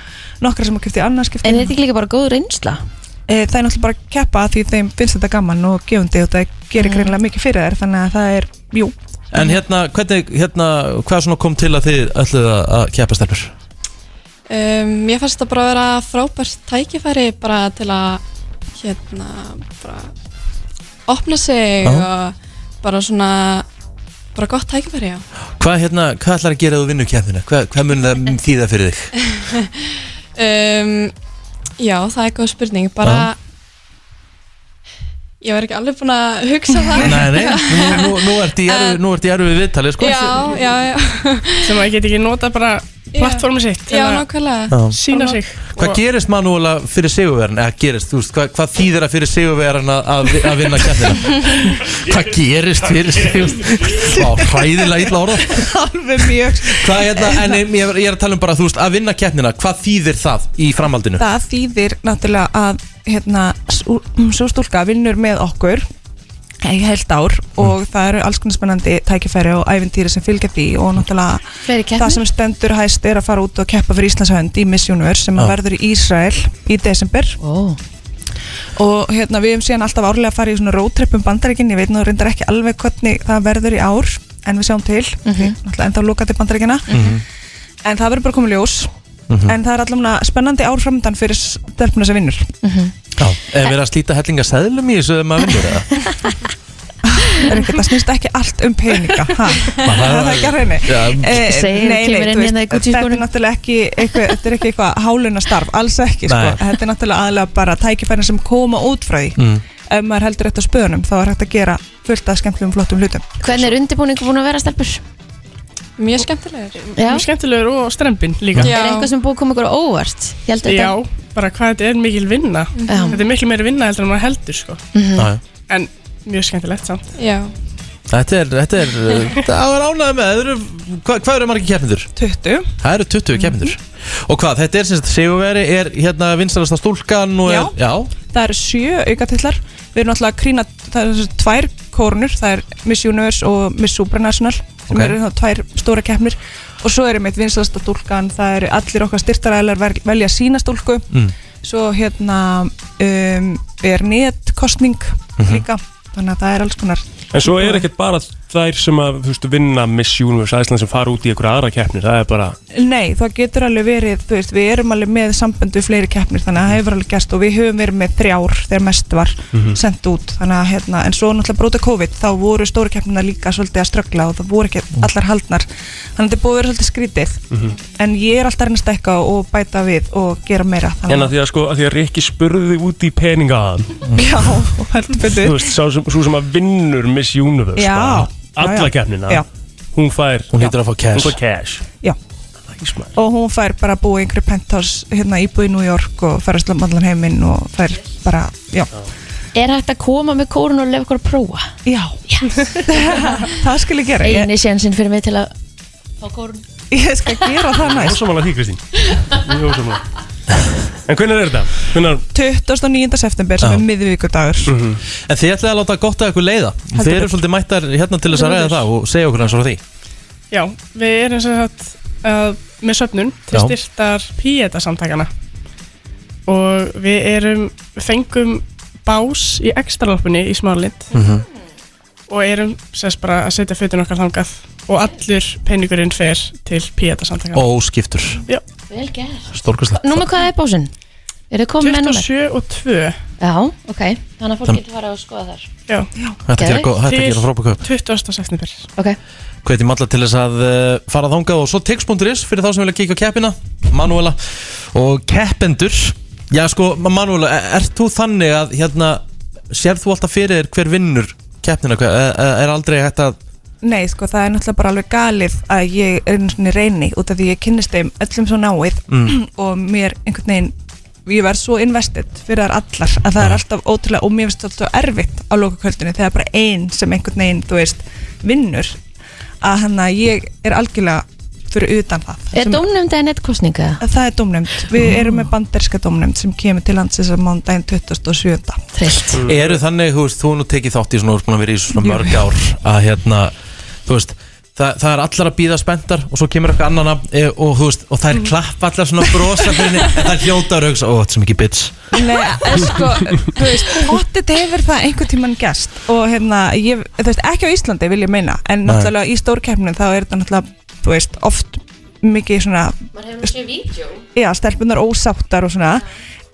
E: nokkra sem er keppið annarskipti
B: En er þetta ekki líka bara góð reynsla?
E: Eh, Það er náttúrulega bara að keppa af því þeim finnst þetta gaman og gefandi og það gerir
B: Mm.
E: greinilega mikið fyrir þær Þannig að það er, jú,
A: En hérna, hvernig, hérna, hvað svona kom til að þið ætluð að- að keppa stelpur?
F: um, ég fannst þetta bara að vera frábært tækifæri bara til að hérna, bara opna sig og bara svona bara gott tækifæri, já
A: Hvað, hérna, hvað ætlar að gera ef þú vinnur keppnina? Hvað, hvað mun það þýða fyrir þig?
F: um, Já, það er góð spurning bara ég var ekki alveg búin að hugsa það
A: Nei, nei, nú, nú, nú ert í erfi-
F: En-
A: nú ert í erfi við viðtalið, sko
F: Já, já, já,
G: sem að geta ekki nota bara plattformi sitt til
F: já,
G: að
F: nákvæmlega
A: Já.
G: sína sig
A: Hvað gerist manúlega fyrir sigurverðin? Eða gerist, þú veist, hvað, hvað þýðir að fyrir sigurverðin að, að, vi- að vinna keppnina? Hvað gerist fyrir sigurverðin? Hræðilega illa orða
E: alveg mjög
A: Hvað hérna, en ég, ég er- ég er að tala um bara, þú veist, að vinna keppnina Hvað þýðir það í framhaldinu?
E: Það þýðir náttúrulega að hérna, sú sú stúlka vinnur með okkur í heilt ár og það eru alls konar spennandi tækifæri og æfintýri sem fylgja því og náttúrulega
B: Fleiri keppnir?
E: það sem stendur hæst er að fara út og keppa fyrir Íslands hönd í Miss Universe sem
A: Já.
E: verður í Ísrael í desember
B: Ó,
E: og hérna við hefum síðan alltaf árlega að fara í svona roadtrip um bandaríkinn, ég veit nú reyndar ekki alveg hvernig það verður í ár en við sjáum til,
B: Mhm.
E: mm -hmm. náttúrulega ennþá lóka til bandaríkina en það verður bara komið ljós en það er allavega spennandi ár framöndan fyrir stelpuna sem vinnur
B: Mhm.
A: Já, ef við erum að slíta hellinga seðlum í þessu þegar maður vinnur það
E: er ekkert, það snýst ekki allt um peninga ha?
A: Maður
E: það
A: þarf
E: er það ekki að reyni
A: Já.
E: Eh,
B: Segir, kemur
E: nei,
B: inn
E: nei, þú veist,
B: hérna í Gucci
E: þetta er
B: skónum.
E: náttúrulega ekki eitthvað, þetta er ekki eitthvað háluna starf alls ekki, sko.
A: Nei.
E: þetta er náttúrulega aðlega bara tækifærin sem koma út frá því
A: Mm.
E: ef maður heldur þetta spöðunum þá er hægt að gera fullt af skemmtilegum flottum hlutum
B: hvernig er undirbúningu búin að vera stelpur?
F: Mjög skemmtilegur
B: Já,
G: mjög skemmtilegur og strempin líka
F: Já.
B: er eitthvað sem búið að koma ykkur á óvart? Ég held að
G: Já, bara hvað þetta er mikil vinna
B: Já. Mhm.
G: þetta er mikil meiri vinna heldur en maður heldur sko.
A: Já, já.
G: en mjög skemmtilegt samt
F: Já,
A: Þetta er, þetta er, það er ánægð með það eru, hva, Hvað eru margir keppnendur?
E: 20
A: Það eru 20 keppnendur Og hvað, þetta er sem sagt sigurveri Er hérna vinstalasta stúlkan og er, já.
E: það eru sjö aukatillar við erum alltaf að krýna, það eru þessi tvær kórnur, það er Miss Universe og Miss Supranational sem
A: Ok.
E: eru þá tvær stóra keppnir og svo erum við vinsalasta dúlkan, það eru allir okkar styrtaræðilar vel- velja sína stúlku
A: Mm.
E: svo hérna
A: Mhm.
E: um, er netkostning líka þannig að það er alls konar
C: En svo er ekkert bara þær sem að þú veist, vinna Miss Universe Æsland sem fara út í einhverja aðra keppnir það er bara,
E: Nei, það getur alveg verið, þú veist, við erum alveg með samböndu fleiri keppnir, þannig að það hefur alveg gerst og við höfum verið með þrjár þegar mest var sendt út, þannig að hérna, en svo náttúrulega bróta COVID, þá voru stóru keppnina líka svolítið að ströggla og það voru ekki allar haldnar, þannig að þetta er búið að vera svolítið skrítið, en ég er alltaf að reyna að stekka og bæta við og gera meira, þannig
C: en að því að sko að því að Rikki spurði þig út í peningaðan
E: já, heldur
C: þú
E: betur,
C: veist, sá sem, svo sem að vinnur Miss Universe
E: Já.
C: bara,
E: Já, já.
C: alla keppnina
E: Já.
C: hún fær,
A: Hún hýttir að fá
C: hún
A: cash
C: fær cash
E: já, og hún fær bara að búa í einhverju penthouse, hérna íbúið í New York og ferast um allan heiminn og fær bara, já,
B: Er hægt að koma með kórun og lefa ykkur að prófa?
E: já, það skal ég gera, ég,
B: Einu sénsinn fyrir mig til að fá kórun
E: ég skal gera það næst.
C: ósamála því Kristín Mjög ósammála. en hvernig er þetta? Hvernig,
E: 29. september sem
A: Já. Mhm.
E: er miðvíkudagur
A: En þið ætlaði að láta gott að ykkur leiða Þið eru svolítið mættar hérna til þess að ræða það og segja okkur hans frá því
G: Já, við erum sem sagt uh, með söfnun til E
A: Já.
G: styrtar Píeta samtakana og við erum við fengum bás í ekstraloppunni í smálind
A: Mhm.
G: og erum sérst bara að setja fötin okkar þangað og allur peningurinn fer til E Píeta samtakana
A: Óskiptur,
B: Vel gert
A: stórkastlega
B: Númer hvað er bósun? Er þið komið með númer?
G: 27 og 2
B: Já, ok Þannig að fólk
A: Þann-
B: getur farið að skoða þar
G: Já,
A: Þetta gera, gó- þetta
G: Til-
A: gera frábæk upp
G: 20. september
B: Ok,
A: hvetjum alla til þess að uh, fara þangað og svo tix.is fyrir þá sem vilja kíkja á keppina Manuela og keppendur já sko Manuela, e- ert þú þannig að hérna, sér þú alltaf fyrir þér hver vinnur keppnina, hver, e- e- er aldrei hægt að
E: Nei, sko, það er náttúrulega bara alveg galið að ég einu svona reyni út af því ég kynnist þeim öllum svo náið og mér einhvern veginn ég verð svo investið fyrir þar allar að það er alltaf ótrúlega og mér finnst alltaf erfitt á lókakvöldinu þegar bara ein sem einhvern veginn, þú veist, vinnur að hann að ég er algjörlega fyrir utan það
B: er
E: Sem-
B: dómnefnd eða nettkostninga?
E: Það er dómnefnd, við erum með banderska dómnefnd sem kemur til landsins á mándaginn 27.
B: Trillt
A: eru þannig, þú veist, þú hefur nú tekið þátt í svona, þú ert búin að vera í þessu svona mörg ár að hérna, þú veist Það, það er allar að býða spenntar og svo kemur eitthvað annan að, e, og þú veist, og það er klapp allar svona brosa fyrir henni, en það er hljótaður og hugsa, ó, þetta er svo mikið bitch
E: Nei, en sko, þú veist, pottit hefur það einhvern tíman gæst og hérna, ég, þú veist, ekki á Íslandi vil ég meina, en
A: Nei.
E: náttúrulega í stórkeppnum þá er þetta náttúrulega, þú veist, oft mikið svona,
B: Man hefur nú séu vídeo
E: já, stelpunar ósáttar og svona,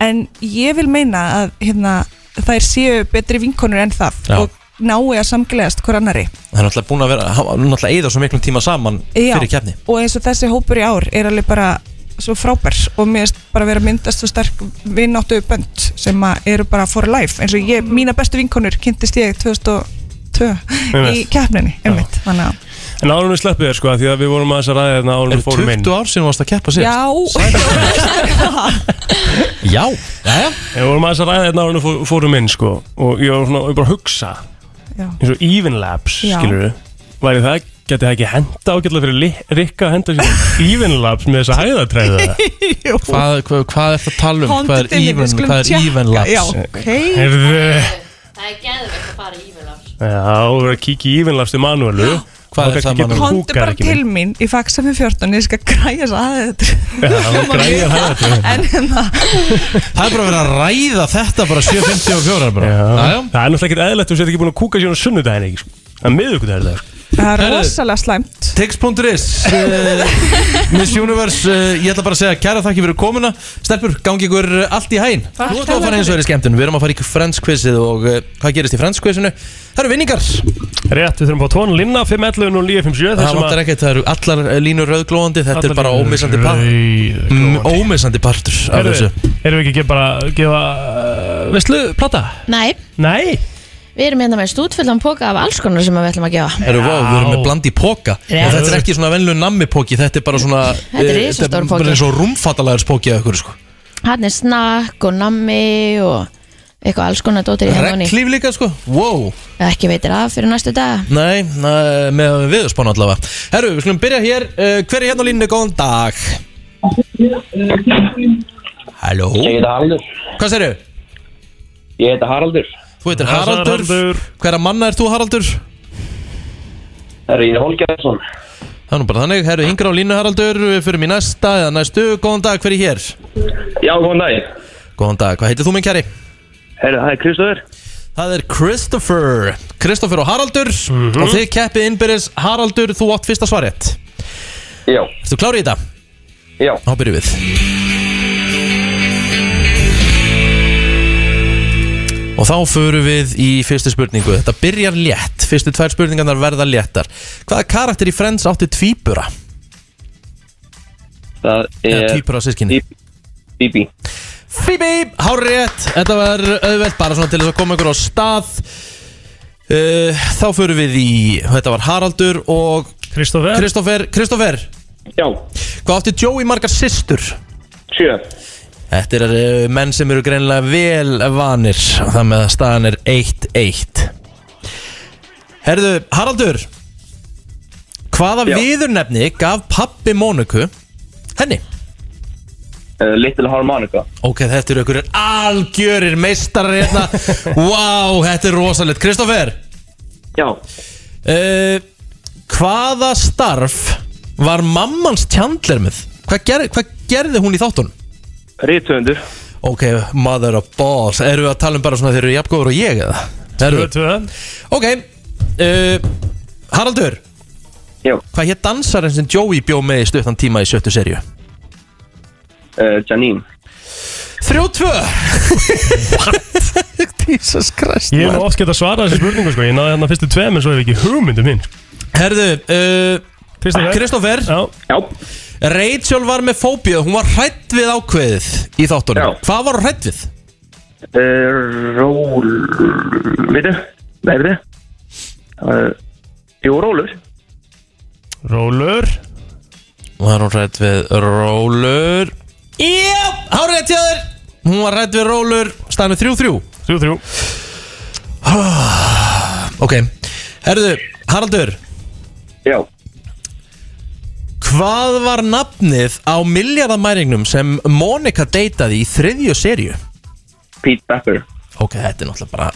E: en ég vil meina að, hérna, þær séu betri vinkonur en það
A: Já.
E: og nái að samgleðast hver annari
A: það er náttúrulega búin að vera, hann er náttúrulega eða svo miklum tíma saman
E: Já.
A: fyrir keppni
E: og eins og þessi hópur í ár er alveg bara svo frábær og mér finnst bara vera að myndast svo sterk vinnáttu bönd sem að eru bara for life eins og ég, mína bestu vinkonur kynntist ég 2002 í
C: Einmitt.
E: keppninni, einmitt þannig að
C: en árum við sleppið þér sko af því að við vorum aðeins að ræða þarna árum
A: Er
C: við fórum inn
A: 20 ár síðan varst að keppa sér?
E: já,
A: Já, já,
C: Við vorum aðeins að ræða þetta áður en við fórum inn sko og ég var svona, ég bara að hugsa
E: já,
C: eins og Even Labs,
E: Já.
C: skilur við væri það, geti það ekki henda ágætlega fyrir Li- Rikka að henda sér í Even Labs með þessa hæðatræðu
A: hvað, hvað, hvað er það að tala um? Hvað
E: Komdu
A: er
E: til mín, við
A: even,
E: skulum
A: hvað er
E: tjekka.
A: even
E: já,
A: labs?
E: ok
C: Herðu, já,
B: Það er geðvegt að fara í ífjölar
C: við erum að kíkja í Even Labs til Manuelu
A: Hvað er það, Manuel?
E: komdu bara til mín í faxa 514 ég skal græja svo aðeins en hérna,
A: Það er bara verið að ræða þetta bara 7.54 bara Já, já.
C: Það er náttúrulega ekkert eðlætt þú sér ekki búin að kúka sér á sunnudaginn ekki sko. Það er miðvikudagur í dag, sko.
E: það er
A: Herðu.
E: rosalega slæmt
A: Tix.is uh, Miss Universe, uh, ég ætla bara að segja kæra þakki fyrir komuna Stelpur, gangi ykkur uh, allt í hæn Þú ert að fara eins og er í skemmtun Við erum að fara í Friends quizið og uh, hvað gerist í Friends quizinu? Það eru vinningar Það
C: Rétt, við þurfum að fá tón linna 511 og 957 þar sem
A: vantar
C: að-
A: ekkert, það eru allar uh, línur rauðglóðandi Þetta er
C: allar
A: bara
C: línur
A: ómissandi Mm, part
C: rauðglóandi.
A: Ómissandi partur af
C: Herðu,
A: þessu
C: Erum við ekki ekki bara að gefa uh, Veistu, plata?
B: Nei,
C: Nei
B: við erum hérna með stútfullan póka af alls konar sem við ætlum að gefa
A: Herru, vá, við erum með
C: Já.
A: blandi póka
B: Já.
A: En Þetta er ekki svona venlu nammi póki Þetta er bara svona
B: Þetta er
A: eh,
B: risastór
A: bara
B: poki.
A: eins og rúmfattalæðars póki eða ykkur, sko.
B: Hann er snakk og nammi og eitthvað alls konar dótir í henni
A: Reglíf líka sko Wow
B: Ekki veitir af fyrir næstu dag
A: Nei, na, með viðspán allavega Herru, við skulum byrja hér uh, Hver er hérna á línni? Góðan dag Halló
H: Ég heita Haraldur
A: Hvað serðu?
H: Ég heita Haraldur
A: Þú heitir
C: Það sagði
A: Haraldur
C: Haraldur.
A: Hverra manna ert þú Haraldur?
H: Herra, ég er Holgersson
A: Það er nú bara þannig Herru, yngra á línu Haraldur Við fyrir mér næsta eða næstu Góðan dag, hver er hér?
H: Já, góðan dag
A: Góðan dag, hvað heitir þú minn kæri?
H: Herra, það er Kristofur
A: Það Það er Christopher Christopher og Haraldur
H: Mhm.
A: Og þið keppið innbyrðis Haraldur, þú átt fyrsta svarið
H: Já,
A: Ertu klárið í þetta?
H: já,
A: Þá byrjum við Og þá förum við í fyrstu spurningu Þetta byrjar létt Fyrstu tvær spurningarnar verða léttar Hvaða karakter í Friends átti tvíbura?
H: það
A: Eða
H: er
A: tvíbura sískinni?
H: Bí- Bíbí
A: Phoebe, hárétt Þetta var auðvelt bara svona til þess að koma ykkur á stað uh, Þá förum við í Þetta var Haraldur og
C: Kristófer
A: Kristoffer Kristoffer,
H: Já,
A: hvað átti Joey margar systur?
H: sjö
A: Þetta er uh, menn sem eru greinlega vel vanir og Það með að staðan er 1-1 Herðu, Haraldur Hvaða
H: Já.
A: viðurnefni gaf pappi Mónuku henni?
H: uh, Little Harmonica
A: Ok, þetta eru ykkur algjörir meistarar hérna Vá, þetta er rosalegt Kristoffer
H: Já,
A: uh, Hvaða starf var mammans tjandler með? Hvað, ger, hvað gerði hún í þáttunum?
H: Rítvöndur
A: Ok, mother of balls Erum við að tala um bara svona þeir eru jafngóður og ég eða? Erum við?
C: Tvö
A: Ok uh, Haraldur
H: Já,
A: Hvað hér dansarinn sem Joey bjó með í stuttan tíma í sjöttu serju?
H: uh, Janine
A: 3-2 What? Jesus Christ
C: Ég hef
A: man.
C: nú oft gett að svara þessi spurningu sko Ég náði hérna fyrstu tveim en svo hef ég ekki hugmyndu minn
A: Herðu uh,
C: Kristófer
A: Kristoffer
C: Já,
H: Já,
A: Rachel var með fóbíu Hún var hrætt við ákveðið í þáttunum
H: Já.
A: Hvað var hún hrætt við?
H: uh, Ról Veitu, nei veitu uh, Jú, Rólur
C: Rólur
A: Var hún hrætt við rólur? Já, hárið til þér Hún var hrætt við rólur Stæðinu 3-3
C: Þrjú, þrjú
A: Ok, herðu, Haraldur
H: Já,
A: Hvað var nafnið á miljardamæringnum sem Monika deytaði í þriðju serju?
H: Pete Becker
A: Ok, þetta er náttúrulega bara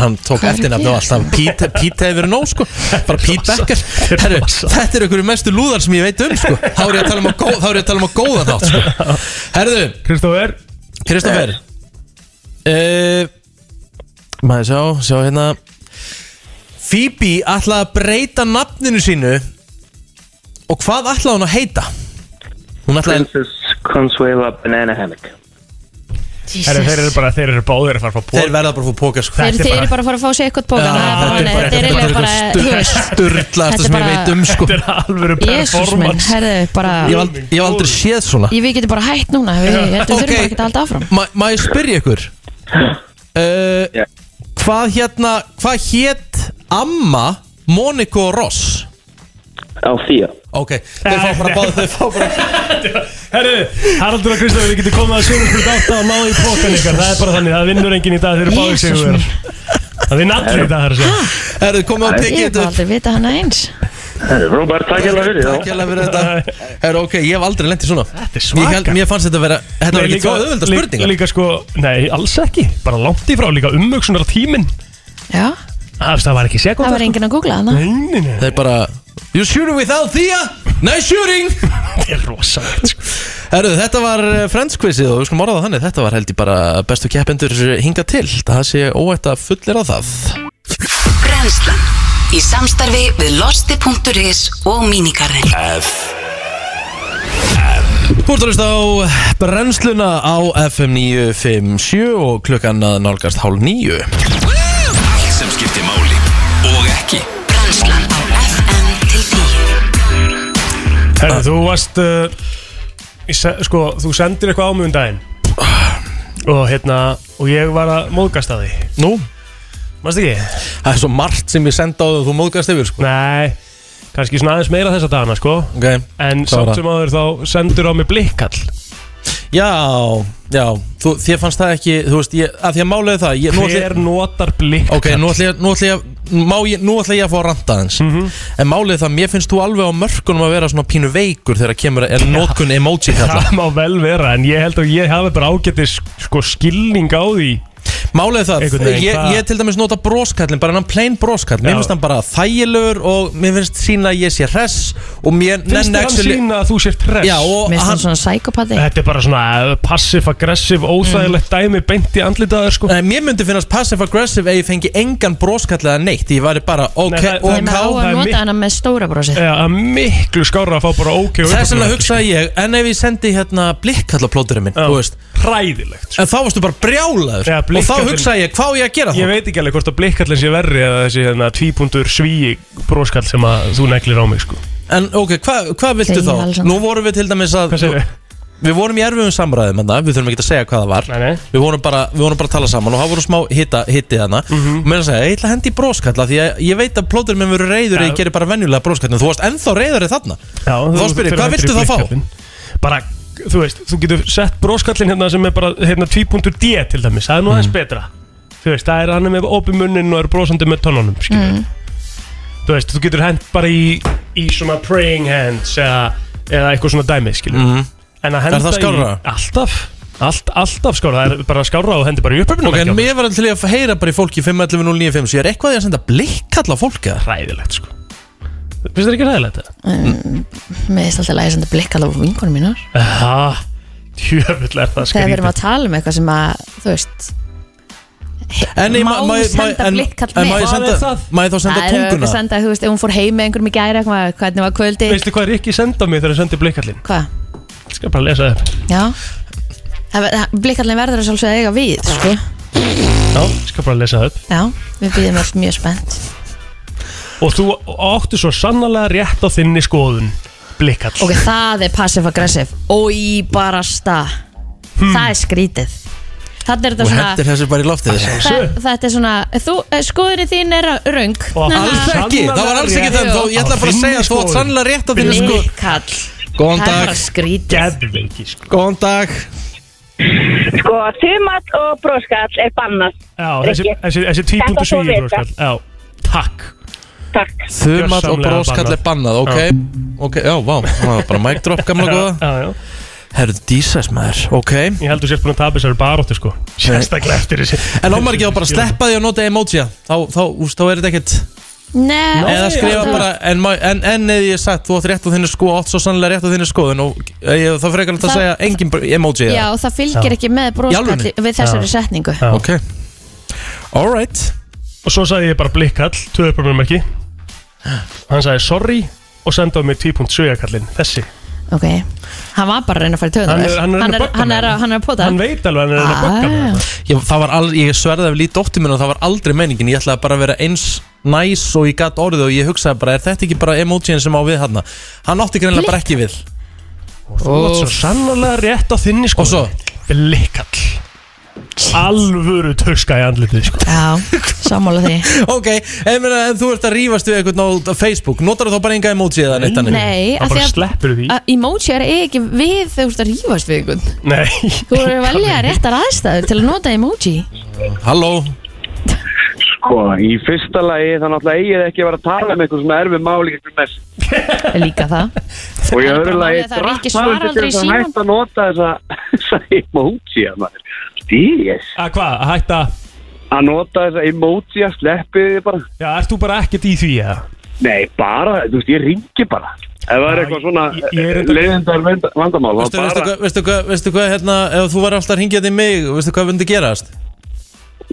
A: hann tók eftirnafni og allt hann Pete, Pete hefur verið nóg sko bara Pete Becker Herru, þetta er einhverju mestu lúðar sem ég veit um sko þá er ég að tala um að, góð, þá er ég að, tala um að góða þátt sko Herðu,
C: Kristófer
A: Kristoffer uh, Maður sjá, sjá hérna Phoebe ætlaði að breyta nafninu sínu Og hvað ætlaði hún að heita? Hún ætlaði
H: Princess Consuela Banana Hammock
C: Herru, þeir eru bara, þeir eru báðir að fara að fá
A: Þeir verða bara að fá póka sko
B: Þeir
C: Þetta er
B: þeir
C: bara-
B: eru bara að fara að fá sér eitthvað bókan Þetta er eiginlega bara, þú Eh, veist Þetta
A: Sturlaðasta
B: er
A: sem ég
B: bara-
A: veit um sko
C: Þetta er alvöru
B: Jésús minn,
C: performance
B: herðu, bara
A: Ég hef ald- ég hef aldrei séð svona
B: Ég við getum bara hætt núna Við þetta
A: Ok.
B: þurfum bara ekki að halda áfram
A: Ma- Má ég spyrja ykkur uh,
H: Já.
A: Hvað hérna Hvað hétt amma Monika og Ross?
H: Á Thea
A: Ok, þau fá bara báð Þau fá bara
C: Herru, Haraldur og Kristofur, þið getur komið að sjónu spurt átt og náðu í pókan ykkar Það er bara þannig, það vinnur enginn í dag, þeir eru báðir
B: Jesús
C: sigur
B: minn.
C: Það vinn allir í dag, það er að segja
A: Herðu, komið og
B: Ég
A: tekið
B: hef
A: þetta
B: bara
A: upp
B: aldrei vita hana eins
H: Robert, takk hérna fyrir
A: Takk hérlega fyrir þetta Herru, ok, ég hef aldrei lent í svona
C: Þetta er
A: Ég held, mér fannst þetta vera Þetta var ekki
C: Líka-
A: góð auðvölda
C: lí-
A: spurningar
C: Líka sko, nei, alls ekki, bara langt í frá, líka umvöksunar tíminn
B: Já,
C: Það var ekki sekund
B: það var enginn að googla hana
C: enginn
A: Þeir bara You're shooting without Thea Nice shooting
C: Þetta er rosalegt sko
A: Herru, þetta var eh, Friends quizið og við skulum orða það þannig Þetta var held ég bara bestu keppendur hinga til Það sé óætt að fullir á það
I: Brennslan Í samstarfi við losti.is og mínikarinn
A: Þú ert að hlusta á brennsluna á FM 957 og klukkan að nálgast hálf níu
D: Allt sem skiptir máli og ekki
I: Brennslan á FM til 10
A: Ah.
C: Herru, þú varst uh, í se- Sko, þú sendir eitthvað á mig um daginn
A: Ah.
C: Og hérna Og ég var að móðgast að því
A: Nú,
C: Manst ekki?
A: það er svo margt sem ég senda á þau og þú móðgast yfir sko.
C: Nei, kannski svona aðeins meira þessa dagana sko
A: okay. Hvað
C: En
A: var
C: samt
A: það?
C: sem áður þá sendur á mig blikkall
A: Já, já, þú, þér fannst það ekki, þú veist, ég, að því að málega það ég, nú ætla ég,
C: Hver notar blikkall?
A: Ok, nú ætla ég, nú ætla ég, má ég, nú ætla ég að fá að ranta aðeins
C: Mhm.
A: En málið er það, mér finnst þú alveg á mörkunum að vera svona pínu veikur þegar kemur er nótkun emoji kalla
C: Það má vel vera En ég held að ég hafi bara ágætis sko skilning á því
A: Málið er það,
C: Einhvern veginn,
A: ég,
C: hvað-
A: ég til dæmis nota broskallin, bara hann plain broskall
C: Já.
A: Mér finnst hann bara þægilegur og mér finnst sína að ég sé hress Og mér
C: Finnst
A: nenni
C: þér hann
A: actually-
C: sína að þú sér tress?
A: Já, og
B: Mér finnst hann
A: hann,
B: svona sækopati
C: Þetta er bara svona passive-aggressive,
B: Mm.
C: óþægilegt dæmi beint í andlitaður sko
A: Nei, Eh, mér myndi finnast passive-aggressive ef ég fengi engan broskall eða neitt Ég væri bara ok
C: Nei, það-
A: og
C: Nei,
B: Þegar maður á
A: ká
C: það
B: að
C: er mitt-
B: nota hana með stóra brosið
C: Eða að miklu skára að fá bara ok
A: Þess
C: og
A: vegna
C: uppákomulega,
A: hugsaði ég, en ef ég sendi hérna blikkallaplóturinn minn,
C: Já.
A: þú veist
C: Hræðilegt sko.
A: En þá varstu bara brjálaður
C: Já,
A: Og þá
C: blikkallinn-
A: hugsaði ég, hvað á ég að gera þá?
C: Ég veit ekki alveg hvort að blikkallin sé verri eða þessi hérna, tvípundur svíi broskall sem að þú neglir á mig sko
A: En ok, hvað hva viltu
B: Segir
A: þá?
B: Alexander.
A: Nú vorum við til dæmis að
C: Hvað segir þið?
A: Við vorum í erfiðum samræðum en við þurfum ekki að segja hvað það var
C: Nei, nei.
A: Við, vorum bara, við vorum bara að tala saman og það voru smá hitta, hitti þarna
C: Mhm.
A: Og mér að segja, ég ætla að hendi í bróskalla Því að ég veit að plótur minn verður reyður ja.
C: Já.
A: Ég gerir bara venjulega bróskalla En þú varst ennþá reyður þarna
C: Já,
A: Og Þá
C: þú-
A: spyr ég,
C: fyrir
A: hvað
C: hættir
A: viltu
C: í
A: þá fá?
C: blikkallinn. Bara, þú veist, þú getur sett broskallin hérna sem er bara hérna 2.d til dæmis, það er nú aðeins
A: Mhm.
C: betra Þú veist, það er hann er með opið munnin og er brosandi með tónunum, skilur
E: Mm.
A: Mm.
C: Þú veist, þú getur hent bara í, í svona praying hands eða, eða eitthvað svona dæmi, skilur En að henda
A: Mhm. það skárra?
C: í Alltaf, allt, alltaf skárra, það er bara skárra og hendi bara í upphöfnum
A: Ok, en mér var alltaf til í að heyra bara í fólki 5.11.095 Svo ég er eitthvað í að senda blikkalla á fólki eða?
C: Ræðilegt, sko Finnst þér ekki ræðilegt það?
B: Mm. Mér finnst alltaf að ég senda blikk alveg á vingunum mínar
C: Ah, djöfull er það
B: Þegar við erum
C: skrítið
B: að tala um eitthvað sem að, þú veist
A: En
B: Má
A: ég- ma- ma- ma-
B: senda
A: en-
B: blikkkall
A: en
B: með?
A: Má ég
C: Hvað er
A: senda-
C: það?
A: má ég þá senda
B: Það er auðvitað
A: tunguna?
B: senda, þú veist, ef hún fór heim með einhverjum í gæri eitthvað, hvernig var kvöldi
C: Veistu hvað Rikki senda mig þegar hann sendi blikkallin?
B: Hvað?
C: Ég skal bara lesa það upp.
B: Já Það ver- það- Blikkallin verður að sjálfsögða eiga við, sko
C: Já, ég skal bara lesa það upp.
B: Já, við býðum öll mjög spennt
C: Og þú áttu svo sannlega rétt á þinni skoðun. Blikkall.
B: Ok, það er passive-aggressive Og í barasta
C: Hmm.
B: Það er skrítið Þetta er
A: Og
B: þetta
A: hendir
B: svona
A: þessu bara í loftið
B: það- Þetta er svona, þú, skoðurinn þín er röng
C: Og
A: Alls ekki, það var alls ekki
B: rétt.
A: það þó Ég ætla bara að segja að þú átt sannlega rétt á þínu sko
B: Blikkall
A: Góðan
B: Það er
A: dag,
B: bara skrítið
C: Geðveiki, sko.
A: góðan dag
J: Sko, tumall og broskall er bannast,
C: Já, þessi,
J: Rikki.
C: þessi, þessi tvípundu
J: Þetta þú
C: svíi,
J: vita.
C: broskall. hérna. Já, takk.
J: takk.
A: Þumall og
C: Gjörsamlega
A: bróskall er bannað, ok Ok, já, vá, það var bara mic drop gamla
C: Já,
A: góða
C: já, já.
A: Herðu, dísæs maður, ok
C: Ég heldur sér búin að tapa þessari baróttu, sko. Sérstaklega eftir þessi.
A: En ómar ekki þá bara sleppa því að nota emoji Þá, þá, úst, þá er þetta ekkert
B: Nei,
A: Eða skrifa bara, en, ma- en, en eða ég sagt Þú átt rétt á þínu sko, átt svo sannlega rétt á þínu sko En þá frekar þetta
B: Það-
A: að segja engin br- emoji eða?
B: Já, það fylgir ekki með
A: Í
B: broskalli
A: alvörunni?
B: við þessari setningu
C: Já.
A: Ok Alright
C: Og svo sagði ég bara blikkall, tvö upprunnummerki. Hann sagði sorry og sendaði mig 2.7 kallinn, þessi.
B: Ok, hann var bara að reyna að fara í
C: Hann
B: töðunar
C: er- hann er að reyna að bögga
B: hann er
C: mig.
B: að- hann er að pota
C: Hann veit alveg, hann er að bögga mig.
B: Ah.
A: Ég, það var al, ég sverði af lítið dóttir minn og það var aldrei meiningin Ég ætlaði bara að vera eins næs og ég gatt orðið og ég hugsaði bara Er þetta ekki bara emojín sem á við hann? Hann átti greinlega bara ekki við
B: Ah.
C: Þú átt svo sannlega rétt á þinni sko
A: Og svo?
C: Blikkall Alvöru tuska í andlitið sko
B: Ah. Já, sammála því
A: Ok, en, meina, en þú ert að rífast við einhvern á Facebook Notar þú þá bara enga emoji eða neitt þannig?
B: Nei,
C: Það
B: af því
C: bara
B: að
C: sleppur því
B: að emoji er ekki við þegar þú ert að rífast við einhvern
C: Nei
B: Þú eru að velja réttar aðstæður til að nota emoji
A: Halló
H: Sko, í fyrsta lagi þá náttúrulega eigið þið ekki að vera að tala um eitthvað svona erfið máli eitthvað mest.
B: Líka það
H: Og
B: Það
H: í
B: er
H: öðru
B: bara
H: lagi
B: málið að það er ekki svar
H: drakk maður til
B: aldrei í
H: þess að
B: símann.
H: hægt að nota þessa, þessa emoji að maður. Stíðis.
C: Að hvað, að hætta
H: Að nota þessa emoji að sleppið þið bara.
C: Já, ert þú bara ekkert í því eða?
H: Nei, bara, þú veist, ég ringi bara. Ef það er
C: Já,
H: eitthvað svona
C: ég- ég er enda-
H: leiðindar vandamál, þá
A: Veistu, veistu,
H: bara
A: hvað, veistu, hvað, veistu hvað, hérna, ef þú var alltaf að ringja þig í mig Veistu hvað myndi gerast?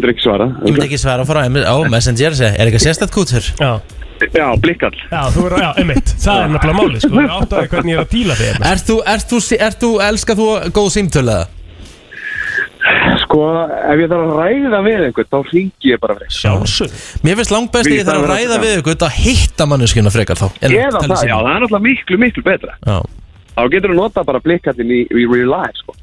H: drikk svara.
A: Ég myndi ekki svara og fara á M- á Messenger segja, Er eitthvað sérstætt kútur?
C: Já,
H: Já, blikkall.
C: já, þú eru, já, einmitt Það er nefnilega málið sko Þú eru átt að því hvernig ég er að díla þig
A: Ert þú, ert þú, ert þú, elskar þú góð símtöluða?
H: Sko, ef ég þarf að ræða við einhvern, þá ringi ég bara fyrir.
C: Sjálfsög
A: Mér finnst langt best að ég þarf að ræða við ykkur að hitta manneskjuna frekar þá en
H: Eða
A: tala í
H: það, já,
A: síma.
H: það er náttúrulega miklu, miklu betra.
A: Já.
H: Þá getur þú nota bara blikkallin í, í real life, sko.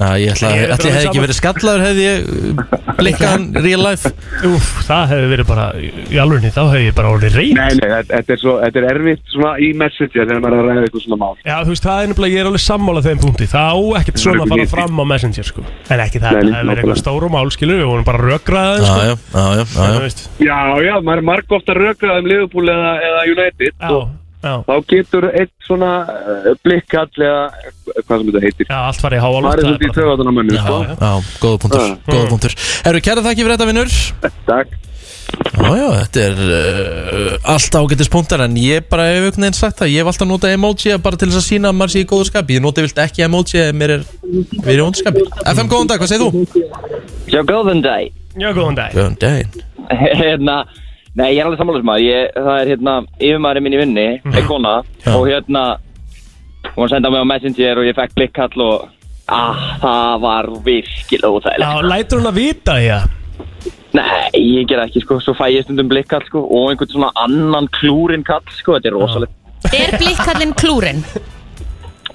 A: Já, ég ætla
C: Ég
A: að
C: er
A: ætli
C: bara
A: ég hefði
C: sama-
A: ekki verið skallaður hefði ég blikkaðan real life
C: Úf, það hefði verið bara Í alvegni, þá hefði ég bara orðið reynd
H: Nei, nei, þetta- þetta er, svo, þetta er erfitt svona í messenger þegar maður er að ræða eitthvað svona mál.
C: Já, þú veist, það er nefnilega, ég er alveg sammála þeim punkti Það á ekkert svona að fara fram á Messenger, sko En ekki það,
H: Nei,
C: það hefði verið eitthvað
H: nákvæmlega.
C: stórum álskilu Við vorum bara rökraðið,
A: Já,
C: sko
A: já, já, já, já,
C: En
A: já.
C: þú veist,
H: Já, já, maður er marg ofta rökrað um Liverpool eða, eða United
C: Já,
H: og þá getur eitt svona eh, blikkall eða eh, hvað sem þetta heitir
C: Já, allt farið í háa loft,
H: Farið
C: það er
H: út í
C: bara
H: töðan á mönnum
A: Já,
H: sko.
A: já, já, góða punktur,
H: Já.
A: góða punktur
C: Mm.
A: Herru, kæra þakki fyrir þetta vinnur
H: Takk
A: Já, já, þetta er uh, allt ágættis punktar En ég bara hef einhvern veginn sagt það Ég hef alltaf notað emoji bara til þess að sína að maður sé í góðu skapi Ég nota vilt ekki emoji ef mér er Við erum í vondu skapi FM, góðan dag, hvað segir þú?
K: Já, góðan dag
C: Já, góðan dag
A: Góðan daginn
K: Hérna, nei, ég er alveg sammála sem að ég, það er hérna, yfirmaðurinn minn í vinni,
C: Mhm.
K: er kona Og hérna, hún senda mig á Messenger og ég fekk blikkall og Ah, það var virkilega
C: Já,
K: óþægilegt
C: lætur hún að vita, já
K: Nei, ég ger ekki, sko, svo fæ ég stundum blikkall, sko Og einhvern svona annan klúrin kall, sko, þetta er rosalegt
B: Er blikkallinn klúrin?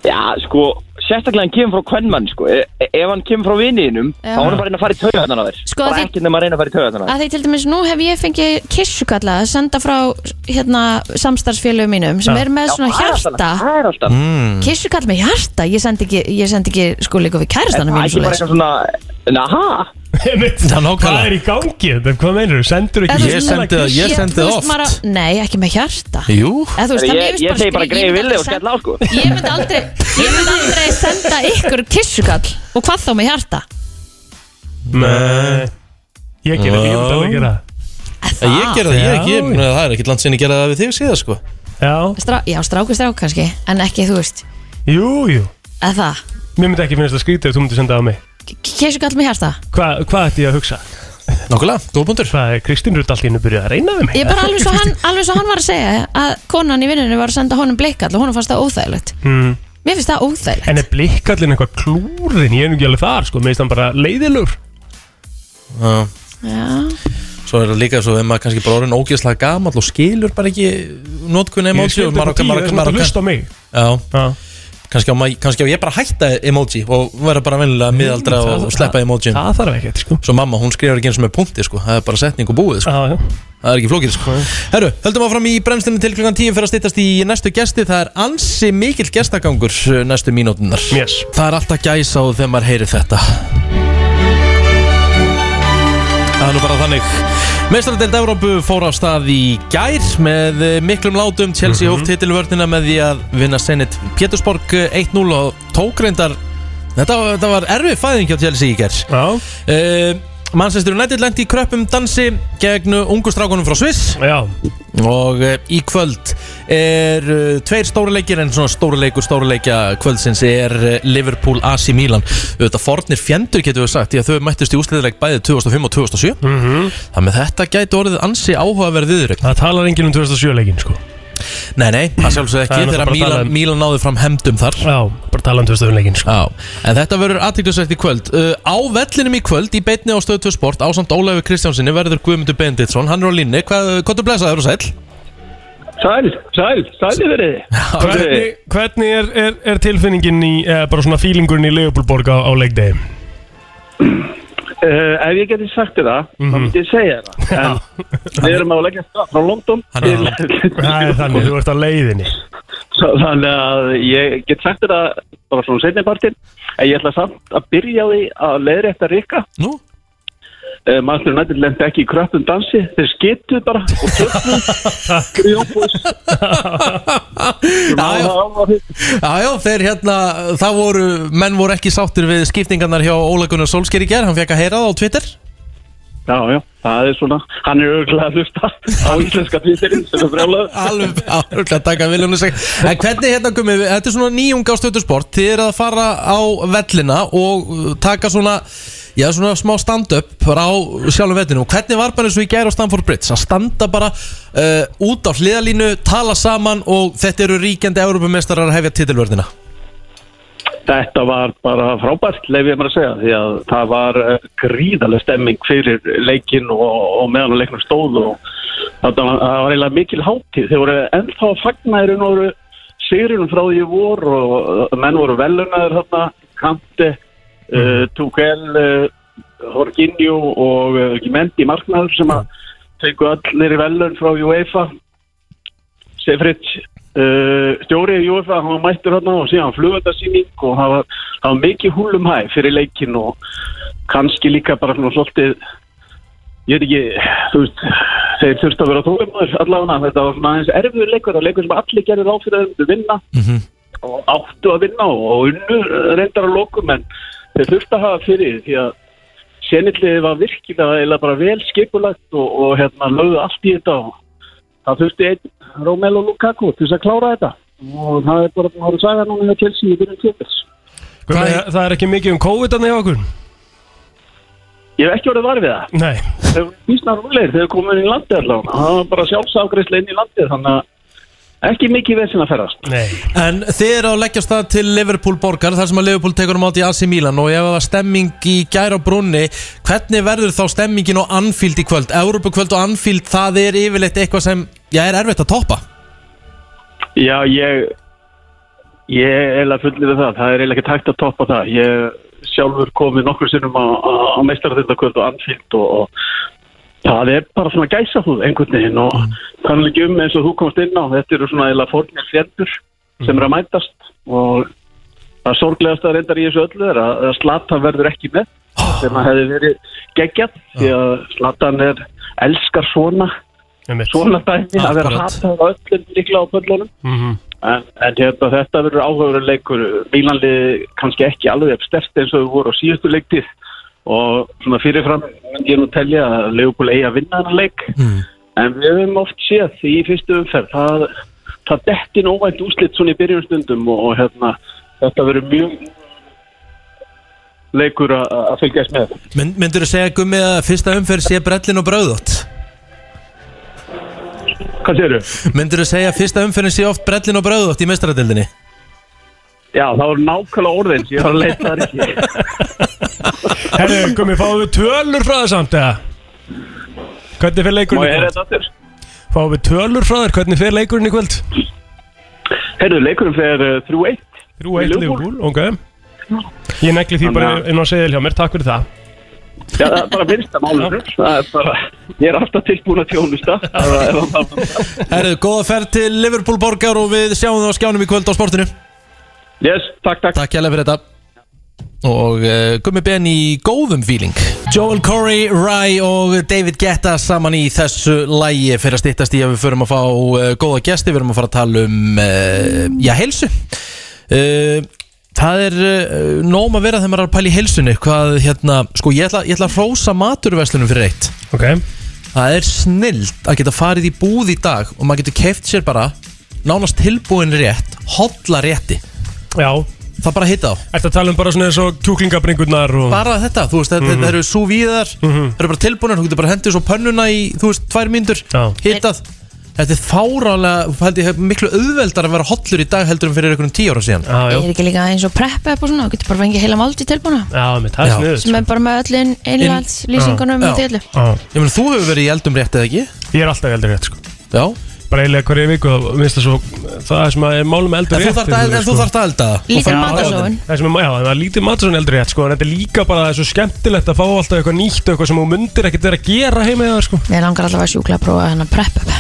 K: Já, sko, sérstaklega hann kemur frá kvennmann, sko e Ef hann kemur frá viniðinum,
B: Já.
K: þá er hann bara að reyna að fara í taugarnar á þér
B: Sko,
K: Bara
B: því-
K: ekki nema að reyna að fara í taugarnar á þér
B: að því til dæmis nú hef ég fengið kissukalla að senda frá hérna, samstarfsfélögum mínum sem
K: Já.
B: er með
K: Já,
B: svona
K: það er alltaf-
B: hjarta
K: það er alltaf. Mm.
B: kissukall með hjarta ég sendi ekki, ég sendi ekki sko líka við kærastanum mínum
K: Er það ekki bara
B: svoleiðis.
K: eitthvað svona Naha
C: Hvað er í gangi? þetta? Hvað meinur þú? Sendur
B: Eða
C: ekki
B: þú veist, svona-
C: Ég-
B: þú veist, maður á- Nei, ekki með hjarta
A: Jú
B: Eða, þú veist, það- mér finnst
K: Ég, ég segi bara
B: skrý-
K: greið
B: myndi
K: villi
B: aldrei
K: og skell á sko
B: senda- Ég myndi aldrei, ég myndi aldrei senda ykkur kissukall og hvað þá með hjarta
C: Nei Ég gerði því, ég myndi alveg gera
A: Ég gera það, ég er ekki,
C: Já.
A: ég- það er ekki land sinni gera það við þig síðan sko
C: Já,
B: Strá, Já, stráku strák kannski en ekki, þú veist,
C: jú, jú
B: eða það
C: Mér myndi ekki finnast það skrítið ef þú myndir senda á mig
B: Kissukall með hjarta
C: Hva- Hvað ætti ég að hugsa?
A: Nákvæmlega, góð punktur
C: Hvað er Kristín Rutt allt í hennu byrjuð að reyna við mig?
B: Ég er bara alveg svo, hann, alveg svo hann var að segja að konan í vinnunni var að senda honum blikkall og honum fannst það óþægilegt
C: mm.
B: Mér finnst það óþægilegt
C: En er blikkallin eitthvað klúrin? Ég er nú ekki alveg þar, sko, mér finnst hann bara leiðilur
A: Já.
B: Já.
A: Svo er það líka svo ef maður kannski bara orðin ógeðslega gamall og skilur bara ekki notkun
C: Ég
A: emoji
C: skildi
A: og maður
C: upp á tíu,
A: maður-
C: þess vegna
A: maður-
C: ertu að hlusta á mig.
A: Já, Kannski, á, maður- kannski á ég bara að hætta emoji og vera bara vennilega miðaldra
C: það-
A: og, og sleppa emoji
C: það þarf ekkert sko
A: Svo mamma hún skrifar ekki eins og með punkti sko það er bara setning og búið sko
C: já, já.
A: Það er ekki flókið sko Herru, höldum áfram í brennslunni til klukkan 10 fyrir að styttast í næstu gesti Það er ansi mikill gestagangur uh, næstu mínútunar
C: yes.
A: Það er alltaf gæs á þegar maður heyrir þetta Það er nú bara þannig Meistaradeild Evrópu fór á stað í gær með eh, miklum látum Chelsea mm
C: Mhm.
A: hóft titilvörnina með því að vinna Senit Pétursborg 1-0 og tók reyndar Þetta, var- þetta var erfið fæðing hjá Chelsea í gær
C: Já
A: uh, Manchester United lendi í kröppum dansi gegn ungu strákunum frá Sviss
C: Já
A: Og eh, í kvöld er uh, tveir stóruleikir en svona stóruleikur stóruleikja kvöldsins er uh, Liverpool AC Milan Þetta fornir fjendur getur við sagt því að þau mættust í úsliðileik bæði 2005 og 2007 mm -hmm. Þannig að þetta gæti orðið ansi áhugaverð viðrögn
C: Mhm. Það talar enginn um 2007 leikin sko
A: Nei, nei, það sjálfsög
C: Það
A: ekki
C: er
A: þegar
C: náttúrulega bara
A: Milan,
C: talað um-
A: Milan náði fram hemdum þar
C: Já, bara tala um 2007 leikin sko
A: Já, en þetta verður aðtýktusvægt í kvöld uh, Á vellinum í kvöld, í beitni á stöð 2 sport Ásamt Ólafi Kristjánsinni verður Guðmundur Benditsson Hann er á línni, hvað, hvað þú blessaður og sæll?
H: Sæl, sæl, sæli verið
C: Hvernig, hvernig er, er, er tilfinningin í, eh, bara svona fílingurinn í Leopoldborg á, á leikdegi?
H: uh, Ef ég geti sagt þér það,
A: Mhm.
H: þá myndi ég segja þér það En við erum á leggja stað frá London
A: Hann er-
H: til-
C: Það er þannig, þú ert á leiðinni
H: Svo Þannig að ég get sagt þér það bara svona setni partinn En ég ætla samt að byrja á því að leiðri eftir Rikka
A: Nú?
H: Uh, Master United lendi ekki í kröppum dansi Þeir skituð bara og töfnum Grjófus
A: Já, já, já, já, þeir hérna Það voru, menn voru ekki sáttir við skiptingarnar hjá Óla Gunnar Solskjær í ger Hann fekk að heyra það á Twitter
H: Já, já, það er svona Hann er örgulega að hlusta á íslenska títirinn sem er brjálaður
A: Alveg, alveg að taka viljum sig En hvernig hérna komið, við- þetta er svona nýjung á stöðu sport Þið eru að fara á vellina og uh, taka svona Já, svona smá stand-up bara á sjálfum vellinu Hvernig var bara eins og í gær á Stamford Bridge að standa bara uh, út á hliðalínu tala saman og þetta eru ríkjandi Europameistarar að hefja titilvörðina
H: Þetta var bara frábært, leif ég maður að segja, því að það var eh, gríðarleg stemming fyrir leikinn og, og meðan að leiknum stóð og þetta var, það var eiginlega mikil hátíð. Þeir voru ennþá að fagna í raun og voru sigrinum frá því í vor og eh, menn voru velunaður þarna, Kante, uh, Tugel, uh, Jorginho og uh, Gimendi Marknaður sem að fengu allir í velun frá UEFA Sefrit uh, stjórið í UEFA, hann var mættur hann og síðan flugöldarsýning og það var, það var mikið húlum hæ fyrir leikin og kannski líka bara svona svolítið ég veit ekki, þú veist þeir þurftu að vera þólimaður allavega þetta var svona aðeins erfiður leikur það var leikur sem allir gerði ráð fyrir að þeir myndu vinna og áttu að vinna og- og unnu reyndar að lokum en þeir þurftu að hafa fyrir því, því að senilliði var virkilega eða bara vel skipulagt og, og hérna lögðu allt í þetta og það þurfti einn Romelu Lukaku til þess að klára þetta og það er bara að saga núna hjá Chelsea í byrjun tímpils
C: Hvað, er, það er ekki mikið um COVID annað hjá okkur
H: Ég hef ekki orðið var við það
C: Nei
H: Þeir voru bísnar rúleir þegar komum inn í landið allavega það var bara sjálfsafgreysla inn í landið þannig að ekki mikið vesinn að ferðast
C: Nei
A: En þið eru að leggja af stað til Liverpool borgar þar sem að Liverpool tekur um átt í AC Milan og ef það var stemming í gær á brunni hvernig verður þá stemmingin á Anfield í kvöld? Európa kvöld og Anfield það er yfirleitt eitthvað sem já, er erfitt að toppa
H: Já, ég ég er eiginlega fullið við það það er eiginlega ekki tækt að toppa það ég sjálfur komið nokkur sinnum á, á, á meistarðildakvöld og anfíld og, og það er bara svona gæsa þú einhvern veginn og kannski ekki um eins og þú komst inn á þetta eru svona eiginlega fórnir fjendur sem eru að mætast og það sorglegast að reyndar í þessu öllu er að að Zlatan verður ekki með sem að hefði verið geggjað því að Zlatan er elskar svona svona dæmi að vera
C: Akkurat.
H: hatað á öllum líklega á pöllunum En, en hérna, þetta verður áhugaverður leikur. Mílanlið kannski ekki alveg upp stert eins og þau voru á síðustu leiktið og svona fyrirfram myndi ég nú telja að Leopold eigi að vinna þennan leik. En við höfum oft séð því í fyrstu umferð, það, það dettin óvænt úslitt svona í byrjunstundum og, og hérna, þetta verður mjög leikur að að fylgjast með.
A: Mynd, Myndur þú segja Gummi að fyrsta umferð sé brellin og brauðótt?
H: Hvað segir
A: Myndur þú segja að fyrsta umferðin sé oft brellin og brauðótt í meistaradildinni?
H: Já, það voru nákvæmlega orðin sem ég var að leita þar ekki.
C: Herru, komið, fáum við tölur frá þér samt eða? Hvernig fyrir
H: Má ég
C: leikurinn í
H: heyra
C: kvöld?
H: þetta aftur?
C: Fáum við tölur frá þér, hvernig fyrir leikurinn í kvöld?
H: Heyrðu, leikurinn fer uh, 3-1.
C: 3-1 Liverpool, ok Ég negli því bara
H: Þannig
C: inn á segil hjá mér, takk fyrir það
H: Já, það er bara minnsta málur Það er bara, ég er alltaf tilbúin að tjónusta
A: Herðu, góða ferð til Liverpool borgar og við sjáum það á skjánum í kvöld á sportinu
H: Yes, takk, takk
A: Takk hérlega fyrir þetta Og uh, Gummi Ben í góðum fíling Joel Corey, Rai og David Guetta saman í þessu lægi fyrir að styttast í að við förum að fá uh, góða gesti, við erum að fara að tala um uh, já, heilsu uh, Það er uh, nóm að vera þegar maður er að pæla í heilsunni hvað, hérna, sko, ég ætla, ég ætla að hrósa maturverslunum fyrir eitt
C: Ok
A: Það er snild að geta farið í búð í dag og maður getur keift sér bara nánast tilbúin rétt, holla rétti
C: Já
A: Það bara hitta á
C: Ertu að tala um bara svona eins og kjúklingabringurnar og...
A: bara þetta, þú veist, þetta
C: Sko. Mhm.
A: þetta eru svo víðar það eru bara tilbúinir, þú getur bara hendið svo pönnuna í, þú veist, tvær myndur, hittað þetta er fárálega, held ég, miklu auðveldar að vera hollur í dag heldur en fyrir einhvern tíu ára síðan
C: já,
B: er ekki líka eins og prep upp og svona, þú getur bara fengið heila máldi tilbúna
C: já, mitt, það er sko. sniður
B: sem er bara með öllin einlands lýsingunum og til
A: Ég meina, þú hefur verið í eldum rétt eða ekki?
C: Ég er alltaf í eldum rétt, sko
A: Já
C: Bara eiginlega hverja viku, þá minnst það svo Það er sem að er málum eldur
A: En þú
C: rétt sko.
A: þarft að-
C: yfir,
A: en þú þarft að elda það. Lítið
C: Og það-
A: matarsóun.
C: Það er sem að, já, það er lítið matasón eldur rétt, sko En þetta er líka bara, það er svo skemmtilegt að fá alltaf eitthvað nýtt Eitthvað sem þú mundir ekkert vera að gera heima eða, sko
B: Mér langar alltaf að sjúkla að prófa hennar prep up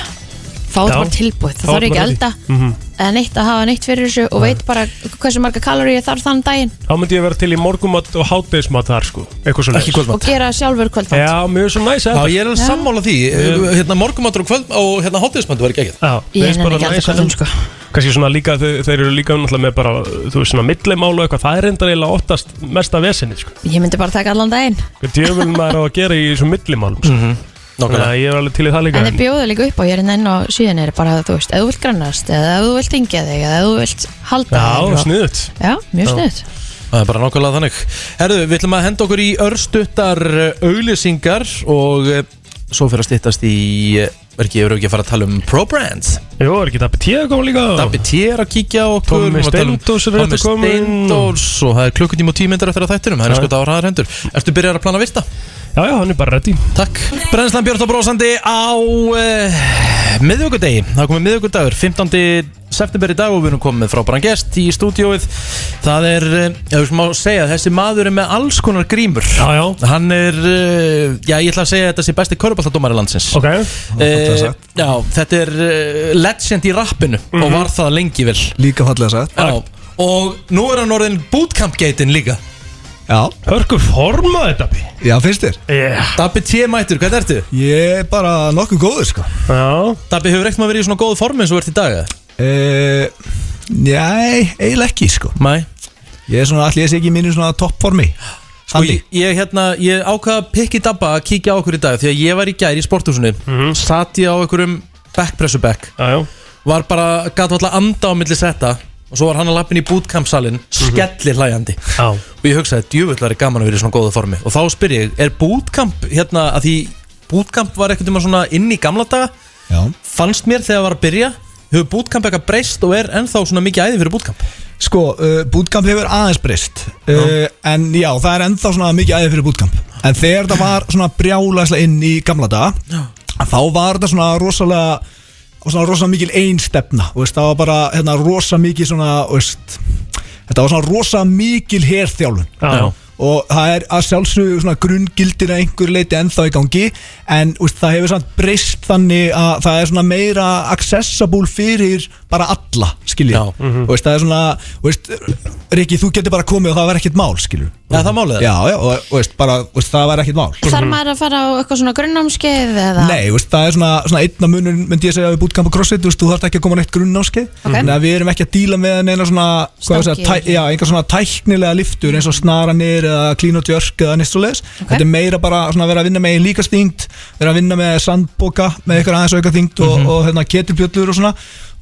B: Fá
C: Já.
B: þetta bara tilbúið,
C: Fá
B: það þarf
C: þetta
B: ekki
C: bara
B: elda
C: í- Mhm.
B: eða neitt að hafa neitt fyrir þessu og veit bara hversu marga kaloríu þarf þann daginn
C: Þá myndi ég vera til í morgumat og hátdeismat þar, sko Eitthvað svo
A: Ekki kvöldmat.
B: og gera sjálfur kvöldfatt
C: Já, mjög svo næs
A: Já, ég er alveg sammála því
C: Já.
A: hérna morgumatur og kvöld og hérna hotdismantu var ekki ekkert
C: Já,
B: Ég
C: mér finnst
B: nenni
C: bara
B: ekki að
C: næs
B: elda sko. kvöldum,
A: sko.
C: að- kannski svona líka þeir, þeir eru líka náttúrulega með bara þú veist svona millimála og eitthvað það er reyndar eiginlega oftast mesta vesinni sko.
B: Ég myndi bara taka allan daginn
C: hvað djöfum maður á að gera í þessum millimálum sko.
A: Mhm.
C: mm -hmm. ég er alveg til í það líka
B: En þeir bjóðu líka upp á hér inn á síðan er bara þú veist, eða þú vilt grannast eða eða þú vilt ingja þig eða eða þú vilt halda þig
A: Já,
B: og-
A: sniðugt.
B: Já, mjög
A: Já.
B: sniðut
A: Það er bara nákvæmlega þannig Herðu, við ætlum að henda okkur í örstuttar uh, auglýsingar og uh, svo fyrir að styttast í uh, er ekki, við erum ekki að fara að tala um ProBrand
C: Jó, er ekki Dabbi T að koma líka?
A: Dabbi T er að kíkja á okkur
C: Tommi
A: við erum að tala um
C: Steindórs er rétt að koma
A: Tommi
C: inn.
A: Steindórs og það er klukkutíma og tímyndir eftir að þættinum, það er
C: Já.
A: sko þetta á hraðar hendur Ertu byrjar að plana virta?
C: Já, já, hann er bara ready
A: Takk Brennslan Björn og Brósandi á uh, miðvíkudegi Það er komið miðvíkudagur, 15. september í dag og við erum komið frá Brangest í stúdióið Það er, uh, ef við má segja, þessi maður er með alls konar grímur Já,
C: já
A: Hann er, uh, já, ég ætla að segja að þetta sé besti körubaltadómari landsins
C: Ok
A: uh, Já, þetta er uh, legend í rappinu og var það lengi vel
L: Líka Mhm. fallega sagt
A: Já, og nú er hann orðin bootcamp geitin líka
L: Já
C: Hörku formaði Dabbi
L: Já, finnst þér?
C: Yeah.
A: Dabbi T. Mættur, hvernig ertu?
L: Ég er bara nokkuð góður sko
C: Já
A: Dabbi, hefur ekkert maður verið í svona góðu formi eins og þú ert í dag?
L: Uh, nei, eiginlega ekki sko
A: Nei
L: Ég er svona, allir ég sé ekki í mínu svona toppformi
A: Sko ég, ég, hérna, ég ákvaða að pikki dabba að kíkja á okkur í dag Því að ég var í gæri í sporthúsinu Sat ég á einhverjum backpressubekk Var bara, gat alltaf anda á milli setta Og svo var hann að lappin í bootcampsalinn Skellir hlæjandi
C: Já.
A: Og ég hugsaði, djöfullari gaman að vera í svona góða formi Og þá spyr ég, er bootcamp hérna að Því bootcamp var ekkert um að svona inn í gamla daga
L: Já.
A: Fannst mér þegar það var að byrja Hefur bootcamp eitthvað breyst og er ennþá svona mikið æði fyrir bootcamp
L: Sko, uh, bootcamp hefur aðeins breyst uh, En já, það er ennþá svona mikið æði fyrir bootcamp En þegar það var svona brjálæslega inn í gamla daga Þá var þetta svona rosalega Svona rosalega mikil einstefna þú veist, Það var bara hérna, rosa mikil svona þú veist, Þetta var svona rosa mikil herþjálfun
C: Já.
L: Og það er að sjálfsögðu svona grungildir að einhver leiti ennþá í gangi En þú veist, það hefur samt breyst þannig að það er svona meira accessible fyrir bara alla, skilja
A: Já. Mhm.
L: Þú veist, það er svona, þú veist, Riki, þú getur bara komið og það var ekkert mál, skilju
A: Já, það málið er.
L: Já, já, og þú veist, bara, þú veist, það var ekkert mál
B: Þarf maður að fara á eitthvað svona grunnámskeið eða?
L: Nei, þú veist, það er svona, svona einna munur myndi ég segja við bútkamp og crossfit, þú veist, þú þarft ekki að koma neitt grunnáski
B: Ok.
L: Þannig að við erum ekki að díla með neina svona, hvað ég segja,
B: Stangi.
L: tæ, já, einhver svona tæknilega liftur eins og snaranir eða klín og djörk eða neitt svo leis Þetta er meira bara svona að vera að vinna með líka stingt, vera að vinna með sandboka með eitthvað aðeins auka þingt og, og hérna ketilbjöllur og svona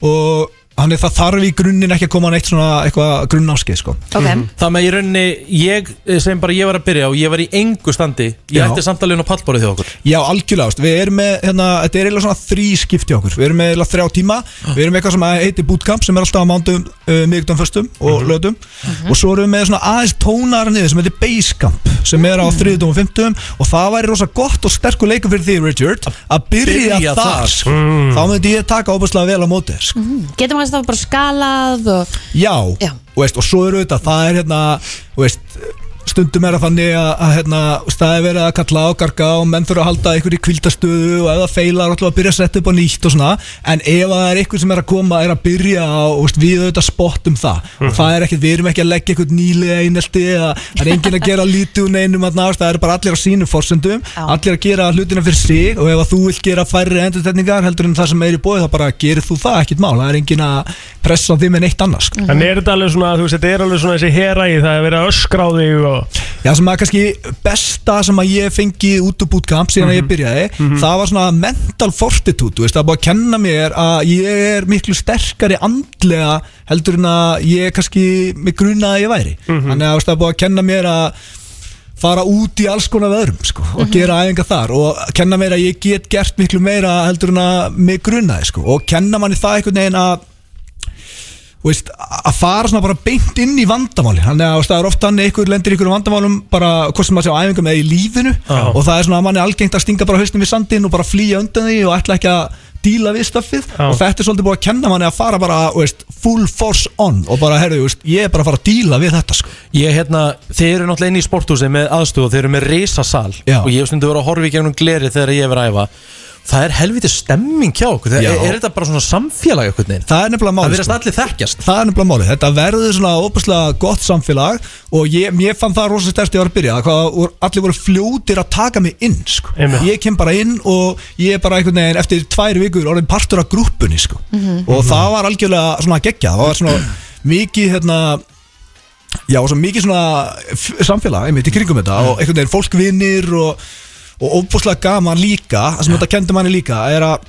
L: og Þannig það þarf í grunninn ekki að koma neitt svona eitthvað grunnáskið sko
A: -hmm. Það með í rauninni, ég eh, sem bara ég var að byrja og ég var í engu standi
L: Já.
A: Ég ætti samtalið á pallborið þjóð okkur
L: Já, algjörlega, veist, við erum með, hérna, þetta er eiginlega svona þrý skipti okkur Við erum með eiginlega þrjá tíma
A: Ah.
L: Við erum með eitthvað sem heitir bootcamp sem er alltaf á mándum, uh, miðugdum, föstum og
A: Mhm.
L: mm lötum Og svo erum við með svona aðeins tónara niður sem heitir basecamp Sem er á
A: Mm.
L: þriðdum og fymtum Og það væri rosa gott og sterkur leikur fyrir því, Richard Að byrja,
A: Byrja
L: þar,
A: þar. Mm. Mhm.
L: sko. Þá myndi ég taka óbúslega vel á móti þér, sko.
B: Getur maður það bara skalað og
L: Já,
B: Já.
L: Og, veist, og svo eru þetta, það er hérna þú veist, stundum er að þannig að, að hérna, staði verið að kalla á garga og menn þurfa að halda einhverju kvildastuðu og ef það feilar alltaf að byrja að setja upp á nýtt og svona, en ef það er einhver sem er að koma er að byrja á, og veist, við auðvitað spottum það, og það er ekkert, við erum ekki að leggja einhvern nýlega einelti eða það er enginn að gera lítið úr neinum að nást, það eru bara allir á sínum forsendum, allir að gera hlutina fyrir sig og ef að þú vilt gera færri endurtegningar heldur en það sem er í bóði, þá bara gerir þú það ekkert mál, það er enginn að pressa á þig með neitt annars sko.
C: En er þetta alveg svona, þú veist, þetta er alveg svona þessi herægi, það er verið að öskra á þig og...
L: Já, sem að kannski besta sem að ég fengi út úr bootcamp síðan
C: Mhm.
L: að ég byrjaði það var svona mental fortitude þú veist, það er búið að kenna mér að ég er miklu sterkari andlega heldur en að ég kannski mig gruna að ég væri
C: Mhm.
L: þannig að þú veist, það er búið að kenna mér að fara út í alls konar veðrum sko, og gera æfingar þar og kenna mér að ég get gert miklu meira heldur en að mig grunaði sko, og kenna manni það einhvern veginn að þú veist, að fara svona bara beint inn í vandamáli þannig að þú veist, það er oft þannig einhver lendir ykkur vandamálum bara hvort sem maður sé á æfingum eða í lífinu
C: Já.
L: og það er svona að manni er algengt að stinga bara hausnum í sandin og bara flýja undan því og ætla ekki að díla við stöffið
C: Já.
L: og þetta er svolítið búið að kenna manni að fara bara þú veist, full force on og bara, herru, þú veist, ég er bara að fara að díla við þetta sko.
A: Ég, hérna, þeir eru náttúrulega inn í sporthúsi með aðstöð og þeir eru með risasal
L: Já.
A: og ég hef stundu verið að horfa í gegnum gleri þegar ég hef verið að æfa Það er helviti stemming hjá okkur, er,
L: Já.
A: er þetta bara svona samfélag einhvern veginn?
L: það er nefnilega máli
A: Það verðast
L: sko.
A: allir þekkjast
L: Það er nefnilega málið, þetta verður svona óbúslega gott samfélag og ég, ég fann það rosa stærst ég var að byrja, hvað voru- allir voru fljótir að taka mig inn, sko.
C: Einmitt.
L: Ég kem bara inn og ég er bara einhvern veginn eftir tvær vikur orðin partur af grúppunni, sko. Og það var algjörlega svona geggja, það var svona mikið, hérna, já, svona mikið svona f- samfélag, einmitt, í kringum þetta og einhvern veginn fólkvinnir og, og óbúslega gaman líka, það sem þetta kendi manni líka, er að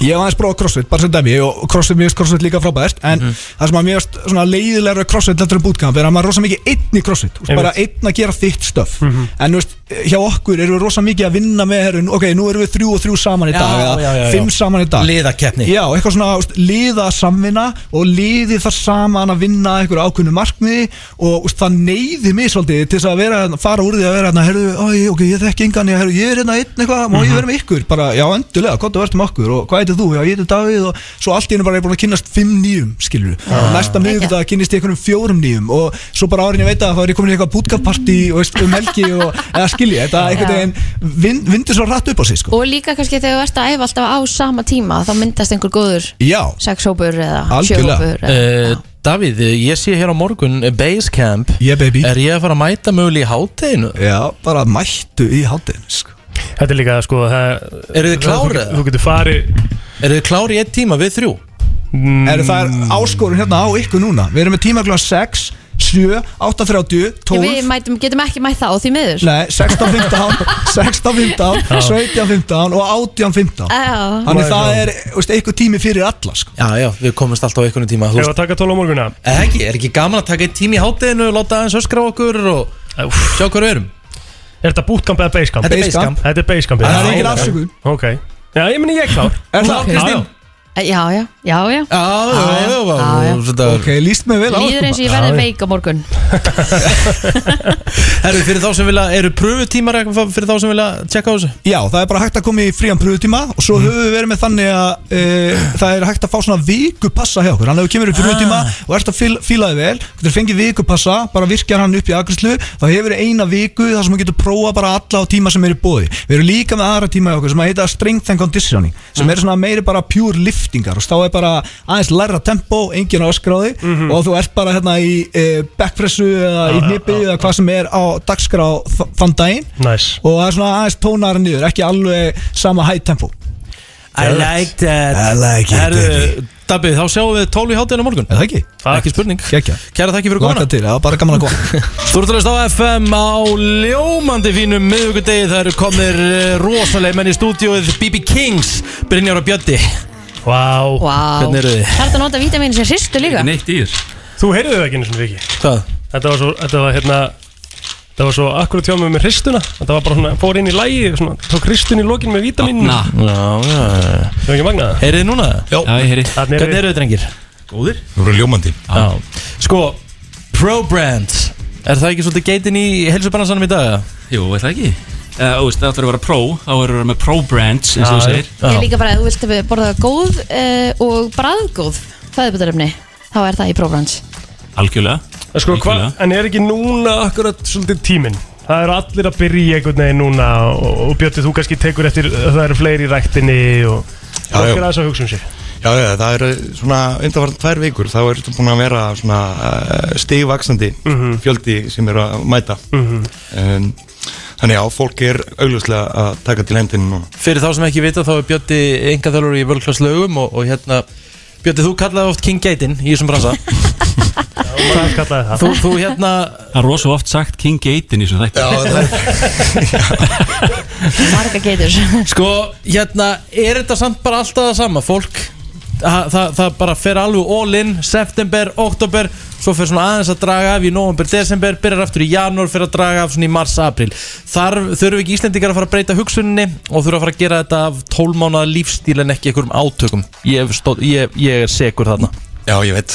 L: Ég hef aðeins prófað crossfit, bara sem dæmi og crossfit, mér finnst crossfit líka frábært en
A: Mhm.
L: það sem að mér finnst svona leiðilegra við crossfit heldur en bootcamp er að maður er rosa mikið einn í crossfit þú veist, bara einn að gera þitt stöf
A: Mhm.
L: en þú veist, hjá okkur erum við rosa mikið að vinna með herun, ok, nú erum við þrjú og þrjú saman í
A: Já,
L: dag eða
A: já, já, já.
L: fimm saman í dag
A: Liðakeppni.
L: Já, eitthvað svona þú veist, liða samvinna og liði það saman að vinna einhverju ákveðnu markmiði og þú veist, það neyði mig svolítið til þess að vera, fara úr því að vera hérna, herru, oi, ok, ég þekki engan, ég, herru, ég er hérna einn eitthvað, má ég vera með ykkur, bara, já, endulega, gott að vera með okkur og hvað eitthvað þú, já, ég eitthvað Davíð og svo allt í hennu bara er búin að kynnast fimm nýjum, skilur næsta miðvitað kynnist ég einhverjum fjórum nýjum og svo bara árin ég veit að þá er ég komin í eitthvað bútkapartí og veist, um helgi og, eða skilji, þetta einhvern
B: Já.
L: veginn vin- vindur svo rætt upp á sig, sko.
B: Og líka kannski þegar þú ert að æfa alltaf á sama tíma þá myndast einhver góður
L: Já,
B: sexhópur eða
L: Algjörlega.
B: sjöhópur eða-
A: uh, Davíð, ég sé hér á morgun eh, Basecamp
L: yeah, Er
A: ég að fara að mæta mögulega í hátteginu?
L: Já, bara mættu í hátteginu sko.
C: Þetta er líka það sko
A: Eru þið klárið?
C: Þú getur farið
A: Eru þið klárið í einn tíma við þrjú?
C: Mm.
L: Er það er áskorun hérna á ykkur núna Við erum með tíma klokkan 6, 7, 8.30, 12
B: Við mætum, getum ekki mætt það á því miður
L: Nei, 16.15 16.15,
B: Já.
L: 17.15 og 18.15
B: Já.
L: Þannig það er veist, einhver tími fyrir alla sko.
A: Já, já, við komumst alltaf á einhvern tíma
C: Ef að taka 12 á morgunna
A: Eða Eh, ekki, er ekki gaman að taka einn tíma í hátteginu Láta aðeins öskra á okkur og sjá hvað við erum
C: Er þetta bootcamp eða basecamp?
A: Þetta er Basecamp.
C: Þetta er basecamp
A: Það er engin afsökun.
C: Ok Já, ég meni ég er klár
L: Er það,
C: Já,
L: Kristín?
C: já.
B: Eh, Já, já, já, já já.
L: Ok, líst mig vel á
B: Líður eins og ég verði veik á morgun
A: Herru, fyrir þá sem vilja, eru pröfutímar eitthvað fyrir þá sem vilja tjekka á þessu?
L: Já, það er bara hægt að koma í frían pröfutíma og svo höfum við verið með þannig að e, það er hægt að fá svona vikupassa hjá okkur Þannig að ef þú kemur í pröfutíma og ert að fíl, fílaði vel getur fengið vikupassa, bara virkjar hann upp í agrislu þá hefur við eina viku þar sem þú getur prófa bara alla á tíma sem er í bóði Við erum líka með aðra tíma hjá okkur sem að heita strength and conditioning sem er svona meiri bara pure liftingar og þá er bara aðeins læra tempo, engin áskráði og þú ert bara hérna í e, backpressu eða í hnipi eða hvað sem er á dagskrá þ- þann daginn
C: Nice
L: og það er svona aðeins tónara niður ekki alveg sama high tempo
A: I like that
L: I like it,
A: Herru, Dabbi, þá sjáum við 12 í hátteginu morgun
L: Er það ekki?
A: Ekki spurning
L: Kekja
A: Kæra þakki fyrir
L: Laka
A: komuna
L: til, það var bara gaman að koma
A: Þú ert að hlusta á FM á ljómandi fínum miðugudegi Það eru komir eh, rosaleg menn í stúdíóið BB Kings Brynjar og Bjöddi
C: Vá
B: Vá
A: Hvernig eru þið?
B: Það er að nota vítamínu sem hristu líka
A: neitt í þér
C: Þú heyrðu þau ekki einu svona viki
A: Hvað?
C: Þetta var svo, þetta var hérna Þetta var svo akkurat hjá mig með hristuna Þetta var bara svona, fór inn í lægi svona, Tók hristun í lokin með vítaminu
A: Na. Já, já
C: Það er ekki magnað
A: Heyrið þið núna?
M: Já, ég heyri
A: Hvernig eru þið, drengir?
M: Góðir Þú eru ljómandi
A: Já Sko, ProBrand Er það ekki svolítið geitin í helsubransanum í dag?
M: Jú, veit það ekki Uh, þú veist, það ætlar að vera pro, þá verður það með pro brands eins og þú
A: Já,
M: segir
B: Ég er líka bara að þú vilt að við borða góð uh, og bræðgóð fæðubutarefni þá er það í prófrans
M: Algjörlega
C: Sko, hva, en er ekki núna akkurat svolítið tíminn? Það eru allir að byrja í einhvern veginn núna og, og Bjötti, þú kannski tekur eftir að það eru fleiri í ræktinni og
N: Já,
C: það
N: já.
C: er aðeins að hugsa um sér
N: Já, já, það eru svona undanfarn tvær vikur þá er þetta búin að vera svona uh, stigvaksandi fjöldi sem eru að mæta
C: Mhm.
N: um, Þannig já, fólk er augljóslega að taka til hendinu núna
A: Fyrir þá sem ekki vita þá er Bjötti enga þjálfur í völklass lögum og, og hérna Bjötti, þú kallaði oft King Geitin í þessum bransa
C: Það kallaði það
A: Þú, þú hérna
M: Það er rosa oft sagt King Gaten í svona þætti Já, það
B: marga geitur
A: Sko, hérna, er þetta samt bara alltaf það sama? Fólk, það, það, það bara fer alveg all in, september, oktober Svo fer svona aðeins að draga af í november, desember Byrjar aftur í janúar, fer að draga af svona í mars, april Þar þurfum ekki Íslendingar að fara að breyta hugsuninni Og þurfum að fara að gera þetta af 12 mánuða lífstíl en ekki einhverjum átökum Ég, hef stóð, ég, ég er segur þarna
N: Já, ég veit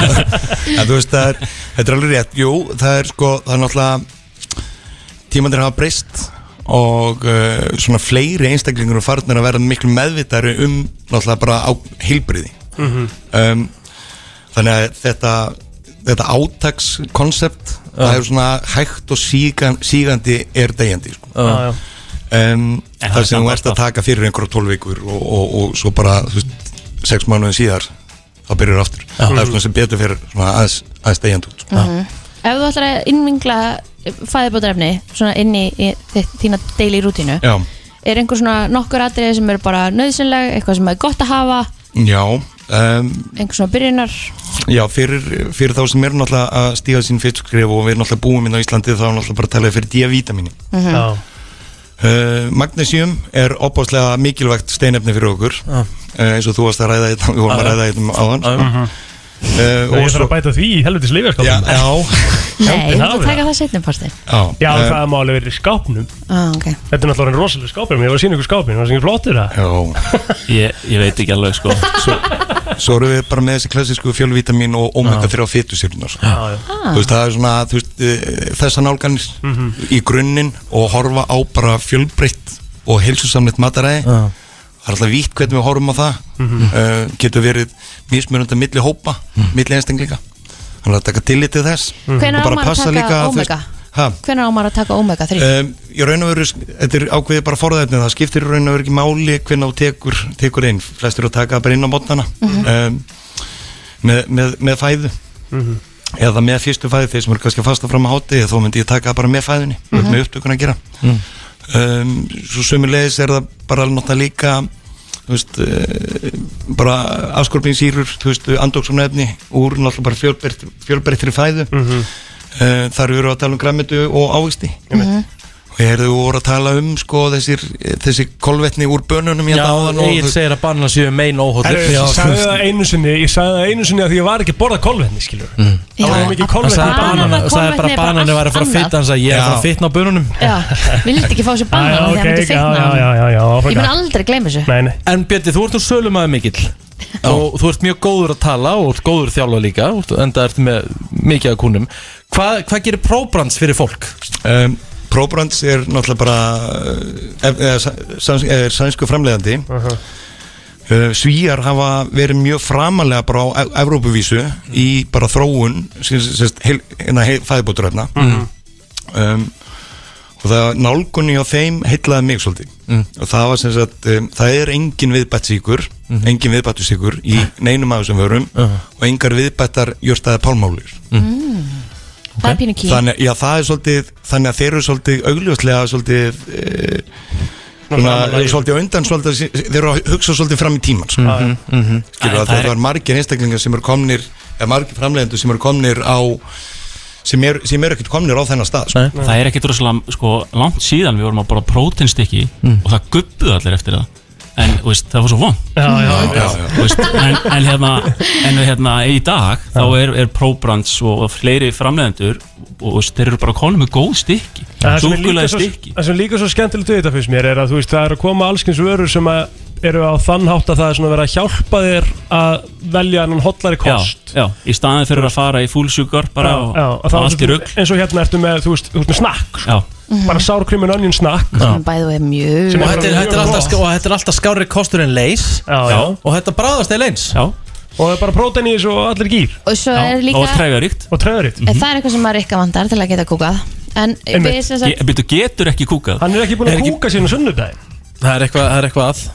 N: En þú veist, það er, þetta er alveg rétt Jú, það er sko, það er náttúrulega tímandir hafa breyst og uh, svona fleiri einstaklingur og farnir að vera miklu meðvitari um náttúrulega bara á heilbriði
O: Mhm.
N: um, þannig að þetta þetta átakskonsept það er svona hægt og sígan, sígandi er degjandi sko.
C: Já, já.
N: um,
M: En það er
N: þar sem
M: samt
N: þú ert að taka fyrir einhverja 12 vikur og, og, og svo bara þú veist, sex mánuðin síðar þá byrjar aftur það er svona sem betur fyrir svona aðeins, aðeins degjandi út sko.
B: Mhm. Ef þú ætlar að innmingla fæðubutarefni svona inn í, í þitt- þína daily rútínu
N: já,
B: er einhver svona nokkur atriði sem eru bara nöðsynleg eitthvað sem er gott að hafa
N: já um,
B: einhver svona byrjunar
N: Já, fyrir, fyrir þá sem er náttúrulega að stíga sín fyrstu skrif og við erum náttúrulega búum inn á Íslandi þá er náttúrulega bara að tala fyrir D-vitamini
B: Mhm. Já.
N: uh, Magnesium er opáslega mikilvægt steinefni fyrir okkur
C: Já.
N: uh, eins og þú varst að ræða þetta við vorum að
C: Já, já.
N: ræða þetta um áðan
C: Já, já. Mhm.
N: uh,
C: Ég þarf að bæta því í helvitis lifjarskapnum
N: Já, já.
B: Nei, þú ætlar að taka það setnum partin
C: Já,
N: Eh,
C: það má alveg verið í skápnum
B: ah, okay.
C: Þetta er náttúrulega rosalega skápnum Ég var að sína ykkur skápnum, það var sem flottur það
M: ég, ég veit ekki alveg sko
N: svo, svo erum við bara með þessi klassísku fjölvitamin og omega 3 fytusýrnar
C: Já, já.
N: þú veist það er svona þú veist, eh, þessar nálganir
C: Mhm.
N: í grunninn og horfa á bara fjölbreytt og heilsusamleitt mataræði
A: Já.
N: það er alltaf vítt hvernig við horfum á það mm
A: Mhm.
N: getur verið mismunandi milli hópa, milli einstaklinga þannig að taka tillit til þess
B: Mhm. Hvenær á
N: og Mm, bara
B: maður að
N: passa
B: taka
N: líka þú veist-
B: omega?
N: Ha?
B: Hvenær á maður að taka omega 3?
N: Um, í raun og veru, þetta er ákveðið bara forðaefnið, það skiptir í raun og veru ekki máli hvernig þú tekur, tekur inn, flestir eru að taka bara inn á mótnana mm
B: Mhm.
N: -hmm. um, með, með, með fæðu
C: Mhm.
N: eða með fyrstu fæðu þeir sem eru kannski að fasta fram á hátti þá myndi ég taka það bara með fæðunni mm
C: Mhm.
N: með upptökun að gera
C: Mm.
N: um, svo sömulegis er það bara náttúrulega líka þú veist uh, bara afskorpingsýrur þú veist, andóksumnefni úr náttúrulega bara fjölbreytt- fjölbreyttri fæðu mm
A: Mhm.
N: -hmm. uh, þar eru að tala um græmitu og ávegsti
C: Mhm.
N: og ég heyrðu voru að tala um sko þessir, þessi kolvetni úr bönunum hérna
A: Já, Egil
N: segir
A: að banna séu mein óhóttur
C: Herru, Ég sagði það einu sinni Ég sagði það einu sinni að því ég var ekki að borða kolvetni skilur
A: Mm.
C: Það var mikið kolvetni
A: sagði
C: í banana.
A: banan-
B: kolvetni
A: sagði bara
B: er bara
A: bananir
B: allt
A: væri að fara að
B: annað.
A: fitna hann sagði ég er að fara að
N: Já.
A: fitna á bönunum
B: Já, við vilt ekki fá sér
A: Já,
B: bannan
A: já,
B: þegar hann
A: ok,
B: myndi fitna
A: já,
B: á
A: já, já, já,
B: honum.
A: áfram
B: Ég mun
A: gang.
B: aldrei gleyma þessu
C: nei, nei.
A: En Bjötti, þú ert nú sölumæður mikill og þú ert mjög góður að tala og ert góður þjálfa líka og ert- enda ert með mikið af kúnum Hvað, hvað gerir próbrands fyrir fólk?
N: Um, Probrands er náttúrulega bara eh, eh, sans, er sænsku framleiðandi Eh, Svíjar hafa verið mjög framalega bara á Ev- Evrópuvísu í bara þróun hérna, fæðbóturöfna
D: Mhm.
N: um, og það nálgunni á þeim heillaði mig svolítið
D: Mm.
N: og það var sem sagt um, það er engin viðbættsíkur
D: Mhm.
N: engin viðbættusíkur í neinum af þessum vörum
D: Aha.
N: og engar viðbættar jörstaði pálmálur
B: Mm. Það er pínu ký
N: þannig, já, það er svolítið, þannig að þeir eru svolítið augljóslega svolítið e, svona,
D: framarlega.
N: svolítið á undan svolítið, þeir eru að hugsa svolítið fram í tíman sko.
D: Mhm, mhm. Æ,
N: skilur að
D: það er-
N: það var margir einstaklingar sem eru komnir eða margir framlegendur sem eru komnir á sem eru sem er ekkert komnir á þennan stað sko.
M: Það er ekkert rosalega sko, langt síðan við vorum að borða próteinstykki
N: Mm.
M: og það guppuðu allir eftir það en þú veist, það var svo vond
C: Já, já, já.
M: en, en, hérna, en hérna í dag þá er, er próbrands og og fleiri framlegendur og þú veist, þeir eru bara að koma með góð stykki
C: Það sem er líka
M: súkulega
C: svo-
M: stykki
C: það sem er líka svo skemmtilegt við þetta fyrst mér er að þú veist það er að koma allskins vörur sem að eru á þann hátt að það er svona að vera að hjálpa þér að velja annan
M: já,
C: hollari kost
M: já, í staðin fyrir að fara í fúlsjúkar bara
C: Já, já,
M: og,
C: og þá
M: og allt í
C: ertu-
M: rugg
C: eins og hérna ertu með, þú veist, þú veist með snakk
M: Já,
C: bara sárkrymin onion snakk
B: Sem bæðu er mjög
C: Sem
A: Og
C: er
A: þetta er,
C: bara
A: þetta er
C: mjög
A: alltaf,
C: gott.
A: sk- og þetta er alltaf skárri kostur en leys
C: Já, já.
A: Og þetta bráðast eða leins
M: Já
C: og það er bara prótein í þessu og allir gýr
B: Og svo er líka
M: træðaríkt
C: og træðaríkt
M: Mhm.
B: Eh, Það er eitthvað sem maður ekki vantar til að geta kúkað En við sem sagt
M: Byrju, getur ekki kúkað
C: Hann er ekki búin að kúka síðan á sunnudaginn
A: Það er eitthvað, það er eitthvað að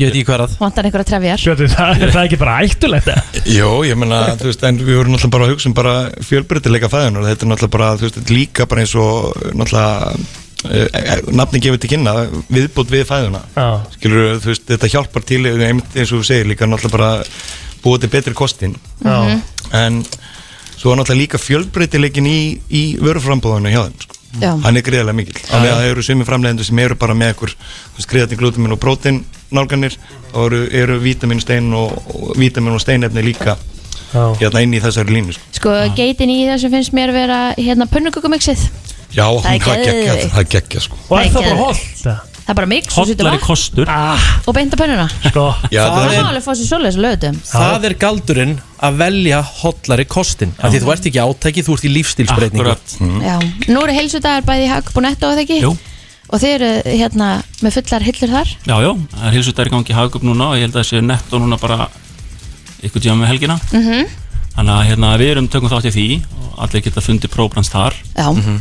A: Ég veit ekki hvað er að
B: vantar einhverja trefjar
C: Sjötu, það, það er ekki bara ættulegt
N: Jó, ég menna, þú veist, en við vorum náttúrulega bara að hugsa um bara fjölbreytileika fæðunar þetta er náttúrulega bara, þú veist, þetta er líka bara eins og náttúrulega eh, eh, nafni gefur til kynna, viðbútt við fæðuna
C: Já.
N: skilur, þú veist, þetta hjálpar til einmitt eins og þú segir líka náttúrulega bara búið til betri kostin
B: Mhm.
C: Já.
N: en svo er náttúrulega líka fjölbreytileikin í, í vöruframbúðinu hjá þeim sko.
B: Já.
N: hann er greiðlega mikill
D: Já,
N: þannig
D: já.
N: að það eru sumi framlegendur sem eru bara með ekkur skriðatni glutamin og prótin nálganir og eru, eru vítamin, stein og, og vítamin og steinefni líka hérna inn í þessari línu sko.
B: Sko geitin í þessu finnst mér vera hérna pönnukökumixið
N: já,
B: Það er
N: hún- það gekkja
B: geðveikt.
N: það gekkja sko.
C: Og
B: Það
C: er
B: er
C: það bara
B: geðveikt.
C: holdt?
B: Það er bara mix og setur vatn
M: kostur
C: ah,
B: og beint á pönnuna
C: sko.
N: já,
B: Það má
A: það, er,
B: alveg fá sér svoleiðis á lögutum
A: það er galdurinn að velja hollari kostin af Því þú ert ekki í átæki, þú ert í lífstílsbreytingu
B: Já, nú eru heilsudagar bæði í Hagkaup og Netto eða ekki
M: Jú.
B: Og þið eru hérna með fullar hillur þar
M: Já, já, það er hilsu í gangi hagkjöp núna og ég held að það sé netto núna bara ykkur tíma með helgina
B: mm -hmm.
M: Þannig að hérna, við erum tökum þátt í því og allir geta fundið próbrans þar
B: Já. Mhm.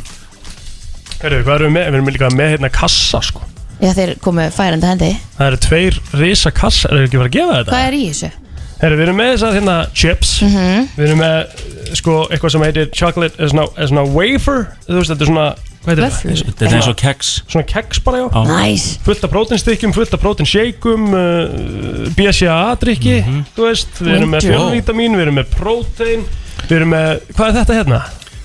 C: Herru, hvað erum við með? Við erum líka með hérna kassa sko.
B: Já, þeir komu færandi hendi
C: Það eru tveir risa kassa Erum við ekki bara að gefa þetta?
B: Hvað er í þessu? Mhm.
C: Herru, við erum með þessar hérna chips Við erum með eh, sko, eitthvað sem heitir chocolate eða svona, eða svona wafer Þú veist, þetta er svona hvað heitir
M: Vöfflur?
C: það?
M: Þetta er eins og keks
C: Svona keks bara, já
M: Já. Nice.
C: Fullt af prótinstykkjum, fullt af prótinshakeum uh, BCAA-drykki
M: Mhm.
C: Þú veist, við erum með
M: Wow.
C: fjölvítamín Við erum með prótein Við erum með, hvað er þetta hérna?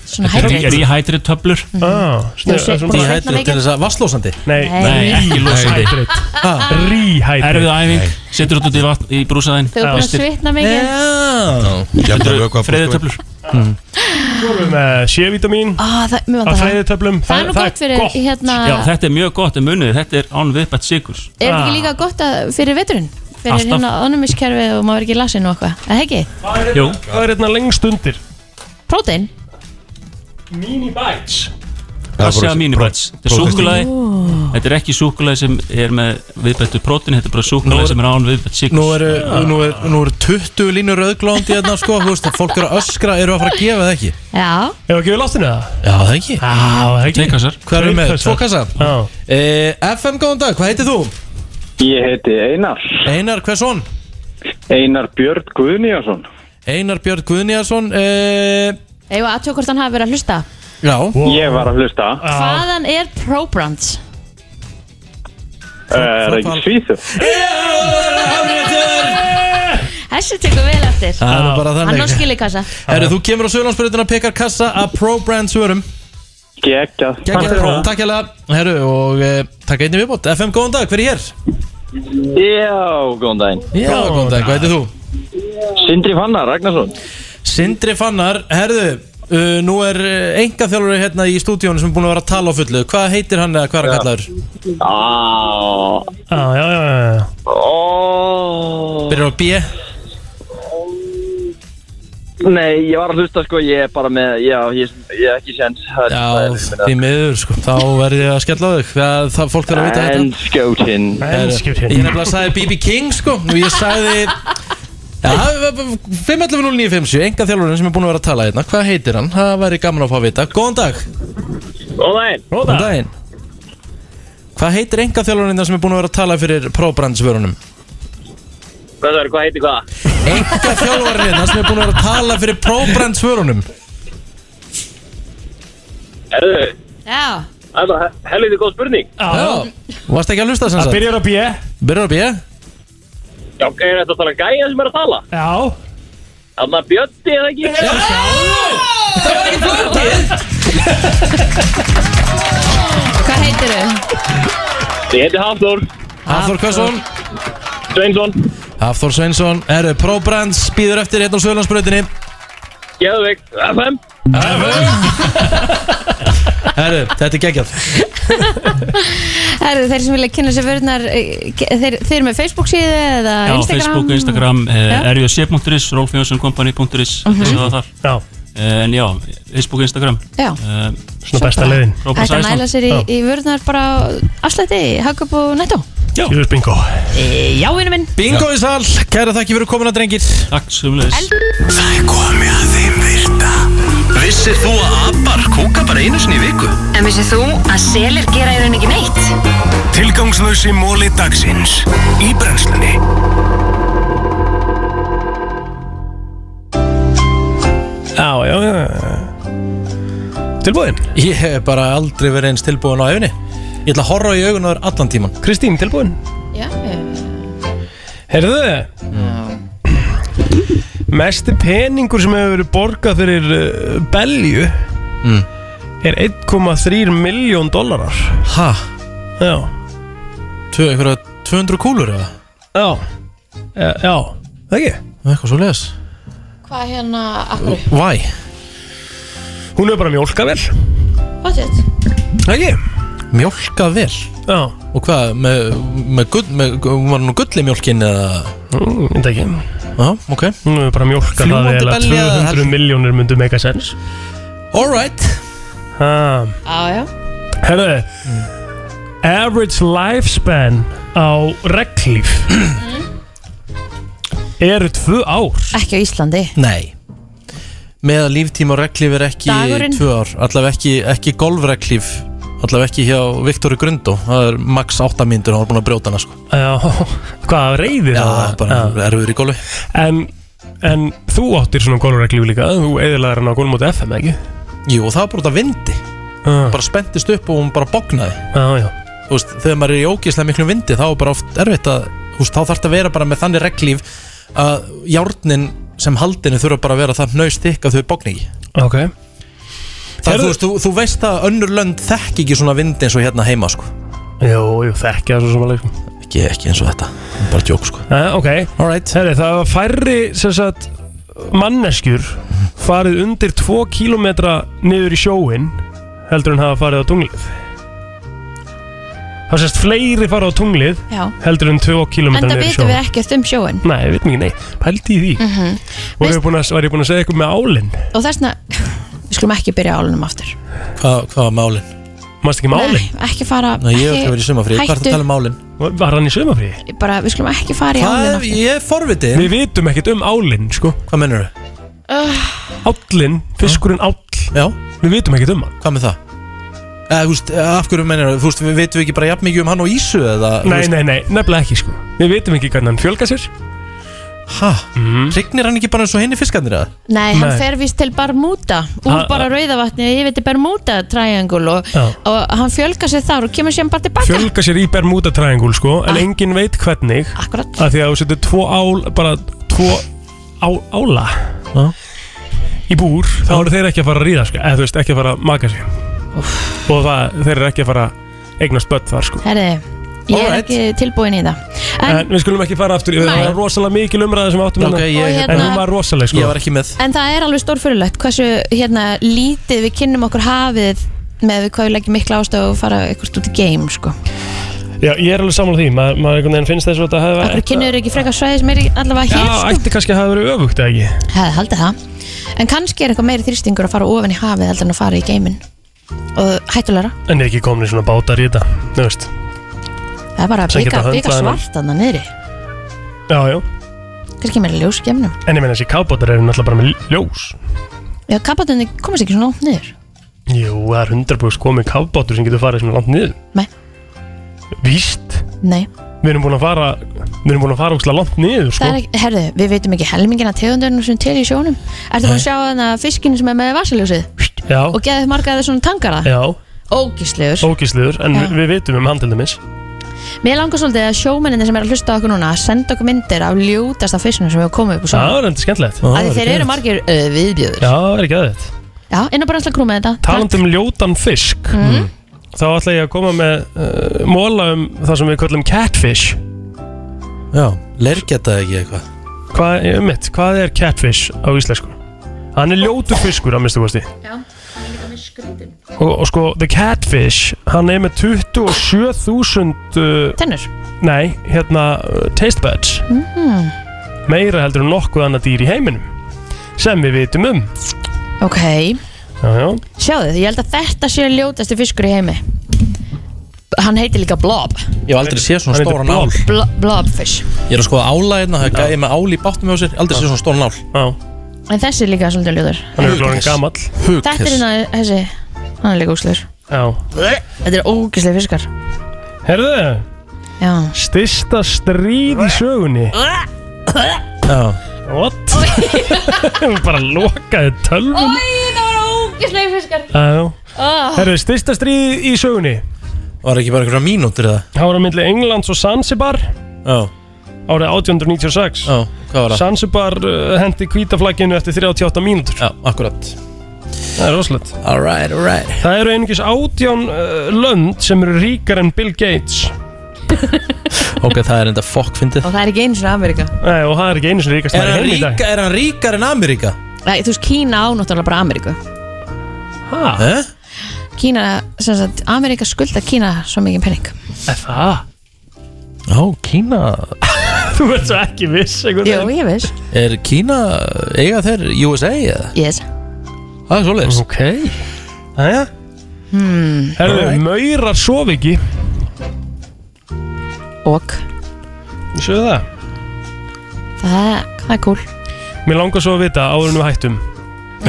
B: Svona
M: Rehydrate töflur
C: Ah,
M: Þú sé- þú setna
A: Dehydrate
M: mikið?
A: til þess að vasslósandi
C: Nei,
M: Nei, ekki losandi
A: Ah.
C: Rehydrate
M: Erfið æfing, setur þetta út í, vatn, í brúsaðinn
B: Þau eru búin að svitna mikið
M: Ah. mikið Freyðutöflur
A: Mm.
C: Svo erum við með C-vitamin
B: ah, það, mér vantar
C: Af
B: það.
C: fræðitöflum
B: Það er nú gott fyrir hérna
M: Já, þetta er mjög gott en munið, þetta er án viðbætt sigurs
B: Er þetta ekki líka gott að, fyrir veturinn? Fyrir
M: Ah. Alltaf.
B: hérna onumiskerfið og maður er ekki lasin og eitthvað Það ekki?
M: Jú.
C: Hvað er hérna lengst undir?
B: Prótein?
C: Mini bites
M: Kassi af mínibræts Þetta er
C: prótein.
M: súkulaði
B: Ó.
M: Þetta er ekki súkulaði sem er með viðbættu prótin Þetta er bara súkulaði sem er án viðbætt sigurs
A: Nú eru, nú, er, nú eru 20 línur auðglóðandi hérna sko, þú veist að fólk eru að öskra, eru að fara að gefa það ekki
B: Já
C: Hefur ekki við láttinu það?
A: Já, það ekki Já,
C: það
B: hérna.
C: ekki
M: Tveir kassar.
A: Hvað erum við með?
C: Tveir
A: Tvo kassa?
C: kassar.
A: e, FM, góðan dag, hvað heitir þú?
O: Ég heiti Einar
A: Einar, hvers hon?
O: Einar Björn Guðnýjarsson
A: Einar Björn Guðnýjarsson uh,
B: Eða aðtjóð hvort hann hafi verið að hlusta
A: Já
H: Ég var að hlusta
M: Ah.
B: Hvaðan er ProBrands?
H: Eh, Er það ekki svíðu?
B: Þessi tekur vel eftir
M: Ah.
A: Það er nú bara þannig.
B: Hann á skilikassa
A: Herru, þú kemur á Söðlandsbröðina og pekar kassa að Pro Brand svörum
H: Gekja
A: Gekja Pro, takk hérlega Herru, og
M: eh,
A: uh, takk einnig viðbót FM, góðan dag, hver er hér?
K: Já, góðan daginn
A: Já, góðan dag, hvað heitir þú?
K: Sindri Fannar Ragnarsson
A: Sindri Fannar, herru uh, Nú er enga þjálfur hérna í stúdíónu sem er búin að vera að tala á fullu Hvað heitir hann eða hvað er að kalla þér?
K: Á
C: Já, já, já, já
A: Byrjar á B
K: Nei, ég var að hlusta sko, ég er bara með, já, ég, ég er ekki sens
A: Því miður, sko, þá verði ég að skella á þig Það, það fólk þarf að vita þetta
K: En skjótin
A: Herru, Ég nefnilega sagði BB King sko Og ég sagði ja, 5.11.09.50 Enga þjálfurinn sem er búin að vera að tala hérna Hvað heitir hann? Það væri gaman að fá að vita Góðan dag
O: Góðan daginn
A: Góðan daginn Hvað heitir enga þjálfurinn sem er búin að vera að tala fyrir próbrandsvörunum?
O: Hvað er, hvað heitir hvað?
A: Enga þjálfurinn sem er búin að vera að tala fyrir próbrandsvörunum
O: Erðu,
B: Já
O: það er bara helviti góð spurning
A: Já Varst ekki að hlusta sem sagt?
O: Það byrjar
C: á B
A: Byrjar á B?
O: Já, er þetta að tala um gæja sem er að tala?
C: Já
O: Þannig að bjötti eða ekki?
B: Það var ekki flókið Hvað heitir þau?
O: Ég heiti Hafþór
A: Hafþór Kvösson
O: Sveinsson
A: Hafþór Sveinsson Eru próbrands Býður eftir hérna á Söðlandsbröðinni
O: Geðvik FM
A: Herru, þetta er geggjall
B: Er þeir sem vilja kynna sér vörðnar þeir, þeir eru með Facebook síðu eða
M: Já,
B: Instagram
M: Facebook, Instagram,
B: Já.
M: eh, rjc.is, rolfjónsoncompany.is
B: Mhm.
M: þessi það þar
C: Já.
M: En já, Facebook, Instagram
B: Já.
M: Eh,
C: Svona besta leiðin.
M: Róbert
B: Þetta
M: Sæsson.
B: næla sér í,
M: Já.
B: í vörðnar bara á afslætti, hagkjöp og nettó
C: Sirius Bingo
B: E, Já, vinnu minn
A: Bingo í sal, kæra þakki fyrir komin að drengir
M: Takk, sumleis
D: Það er komið að þeim virta Vissir þú að abar kúka bara einu sinni í viku?
I: En vissið þú að selir gera í raun ekki neitt?
D: Tilgangslösi móli dagsins Í brennslunni
C: Já, já, já Tilbúin
A: Ég hef bara aldrei verið eins tilbúin á efni Ég ætla að horfa í augun á þér allan tíman
C: Kristín, tilbúin?
B: Já
C: Herðu Mesti peningur sem hefur verið borgað fyrir uh, belju
A: Mm.
C: er 1,3 miljón dólarar
A: Ha?
C: Já
A: Tvö, einhverja 200 kúlur eða?
C: Já Já, Eh, já, það ekki?
A: Eitthvað svo les
B: Hvað hérna, akkur?
A: Væ
C: Hún hefur bara mjólkað vel
B: Pottet
C: Ekki?
A: Mjólkað vel?
C: Já
A: Og hvað, með, með, gull, með hún var nú gulli mjólkin eða?
C: Mm, Þetta ekki
A: Já, ok
C: Hún hefur bara mjólkað það
A: Fljúgandi
C: eða
A: belja eða
C: 200 miljónir myndu meika sens
A: Alright
C: Ha
B: Já, já
C: Herðu Average lifespan á reglíf eru tvö ár
B: Mm. Ekki á Íslandi
A: Nei Með að líftíma og reglíf er ekki
B: Dagurinn.
A: tvö ár Allavega ekki, ekki golfreglíf Allavega ekki hjá Viktori Grundó Það er max 8 myndur og hann er búin að brjóta hana sko
C: Já, hvað reyðir
A: Já, bara erfiður í golfi
C: En, en þú áttir svona golfreglíf líka Þú eðilaðir hann á golfmóti FM, ekki?
A: Jú, og það var bara út af vindi
C: ah.
A: Bara spenntist upp og hún bara bognaði
C: ah, já.
A: Þú veist, þegar maður er í ógeðslega miklum vindi Þá er bara oft erfitt að Þú veist, þá þarf þetta að vera bara með þannig reglíf Að járnin sem haldinu þurfa bara að vera það nöðst ykk að þau bogni ekki
C: Ok
A: Það, þú, veist, þú, þú veist að önnur lönd þekk ekki svona vindi eins og hérna heima sko.
C: Jú, jú, þekkja þessu sem að leikum
A: ekki, ekki eins og þetta, bara djók sko.
C: Eh, ok,
A: Alright.
C: Heri, það var færri sem sagt, manneskjur farið undir 2 km niður í sjóin heldur en hafa farið á tunglið Það sést fleiri farið á tunglið
B: Já
C: heldur en 2 km
B: Enda
C: niður í
B: vitum
C: sjóin
B: við ekkert um sjóin
C: Nei, við veitum ekki, nei, pældi í því mm
B: Mhm.
C: Var ég búinn að, var ég búin að segja eitthvað með álinn?
B: Og þessna, við skulum ekki byrja á álunum aftur
A: Hvað, hvað var málin?
C: Mást ekki með álinn?
B: Nei, ekki fara
A: Nei, ég hef ekki verið í sumafrí, hvað er það að tala
B: Hættu,
A: um málin?
C: Var hann í sumafríi?
B: bara, við skulum ekki fara í álunum aftur
A: ég er forvitið
C: Við vitum ekkert um álinn, sko
A: Hvað mennur þau?
B: uh,
C: Állinn, fiskurinn áll
A: Já
C: Við vitum ekkert um hann
A: Hvað með það? Eða, þú veist, eh, af hverju mennur þau? Þú veist, við veitum við ekki bara jafn mikið um hann og Ísu eða þú
C: Nei,
A: veist-
C: nei, nei, nefnilega ekki sko Við vitum ekki hvernig hann fjölga sér
A: Hæ? Rignir hann ekki bara eins og henni fiskarnir eða?
B: Nei, hann fer vist til Bermuda úr
A: Ha-
B: bara Rauðavatni og yfir til Bermuda triangle og,
C: Já.
B: og hann fjölgar sér þar og kemur sér bara tilbaka
C: Fjölga sér í Bermuda triangle sko En enginn veit hvernig
B: Ah. Akkurat
C: Af því að þú setur tvo ál Bara tvo á, ála Í búr Þá eru þeir ekki að fara að ríða sko Eða þú veist ekki að fara að maka sig Og það, þeir eru ekki að fara að eignast börn þar sko
B: Herði, ég er
C: Alright.
B: ekki tilbúin í það
C: En,
B: En,
C: við skulum ekki fara aftur yfir,
B: Nei.
C: það var rosalega mikil umræða sem við áttum
A: Ok, ég- Og
C: hérna,
A: hérna-
C: en hún var rosaleg sko.
A: Ég var ekki með
B: en það er alveg stórfyrirlegt hversu hérna, lítið við kynnum okkur hafið með við hvað við leggjum mikla ástöð og fara eitthvað út í game sko.
C: Já, ég er alveg sammála því, maður, maður einhvern veginn finnst þess að þetta hefði
B: Akkur kynnur ekki frekar svæði sem er í- allavega
C: Já,
B: hér sko.
C: ætti kannski að hafa verið öfugt eða ekki
B: hefði haldið það en kannski er eitthvað meiri þrýstingur að fara ofan í hafið heldur en að fara í geimin og hættulegra,
C: En ekki komin í svona bátar í þetta, þú veist
B: það er bara að
C: Sem
B: byggja,
C: geta
B: byggja
C: höndlað hennar.
B: svart þannig niðri,
C: Já, já,
B: kannski meira ljós í geimnum
C: en ég meina þessi kábátar eru náttúrulega bara með ljós
B: já, kappatunni komast ekki svona ótt niður
C: Jú, það er 100% komið kábátur sem getur farið sem langt niður
B: Nei.
C: Víst,
B: nei,
C: við erum búin að fara Við erum búin að fara úkslega langt niður,
B: það
C: sko
B: er ekki, herðu, við veitum ekki helmingina tegundunum sem til í sjónum ertu búin að sjá þannig að fiskinu sem er með vasaljósið
C: Já,
B: og geðið margaðið svona tangara
C: já
B: Ógíslegur
C: Ógíslegur, en
B: Ah. Já.
C: við, við vitum um handildumis
B: mér langar svolítið að sjómenninni sem er að hlusta á okkur núna senda okkur myndir af ljútasta fiskinu sem hefur komið upp úr
C: Það
B: sjónum
C: er enda skemmtilegt
B: að þeir eru margir uh, viðbjöður
C: Já, það er ekki að þetta
B: já, inn á bara alltaf krúmið þetta
C: Taland um ljótan fisk
B: Mhm.
C: Þá ætla ég að koma með uh, Móla um það sem við kallum catfish
A: Já, lergjata ekki eitthvað
C: Hvað, um mitt, hvað er catfish á íslensku? Hann er ljótur fiskur að minnstu kosti
B: Já, hann er líka með skrítin
C: og, og sko, the catfish Hann er með 27.000 uh,
B: Tennur?
C: Nei, hérna, uh, taste buds
B: mm.
C: Meira heldur en nokkuð annað dýr í heiminum Sem við vitum um
B: Ok,
C: Já, já
B: sjáðu, ég held að þetta sé ljótasti fiskur í heimi Hann heitir líka blob
A: Ég hef aldrei séð svona
C: Hann heitir
A: stóran ál
B: Blo Blobfish
A: Ég er að skoða ála hérna, það er gæði með ál í báttum hjá sér Aldrei séð svona stóran ál
C: Já,
B: En þessi er líka svolítið ljóður
C: hann er glóðin gamall
B: Þetta er hérna, þessi, hann er líka úslegur
C: Já
B: Þetta er ógislega fiskar
C: Herðu,
B: Já
C: styrsta stríð í sögunni Já What? Hún bara lokaði tölvun
B: það var ógislega fiskar
C: Já
B: oh.
C: Herðu, styrsta stríð í sögunni
A: Var ekki bara einhverja mínútur eða?
C: Það var á myndli Englands og Sansibar
A: Já
C: Árið 1896
A: Já, hvað var það?
C: Sansibar uh, hendi kvítaflagginu eftir 38 mínútur
A: Já, akkurat
C: Það er rosalegt
A: Alright, alright
C: Það eru einungis 18 uh, lönd sem eru ríkar en Bill Gates
A: Ok, það er enda fokk fyndið
B: Og það er ekki eins og Amerika
C: Nei, Eh, og það er ekki einu sem ríkast
A: Er
C: maður í
A: hann
C: heimi í dag.
A: ríka- er hann ríkar en Ameríka?
B: Nei, þú veist, Kína á náttúrulega bara Ameríku
C: Hæ?
B: Kína, sem sagt, Ameríka skulda Kína svo mikið penning
C: Er það?
A: Já, Kína
C: Þú ert svo ekki viss einhvern
B: Jú,
C: veginn.
B: ég veist
A: Er Kína, eiga þeir USA eða?
B: Yes
A: Það er svoleiðis
C: Ok Jæja
B: hmm.
C: Herðu, maurar sof ekki
B: Ok
C: Sjöðu það
B: Það, það er cool
C: Mér langar svo að vita áður en við hættum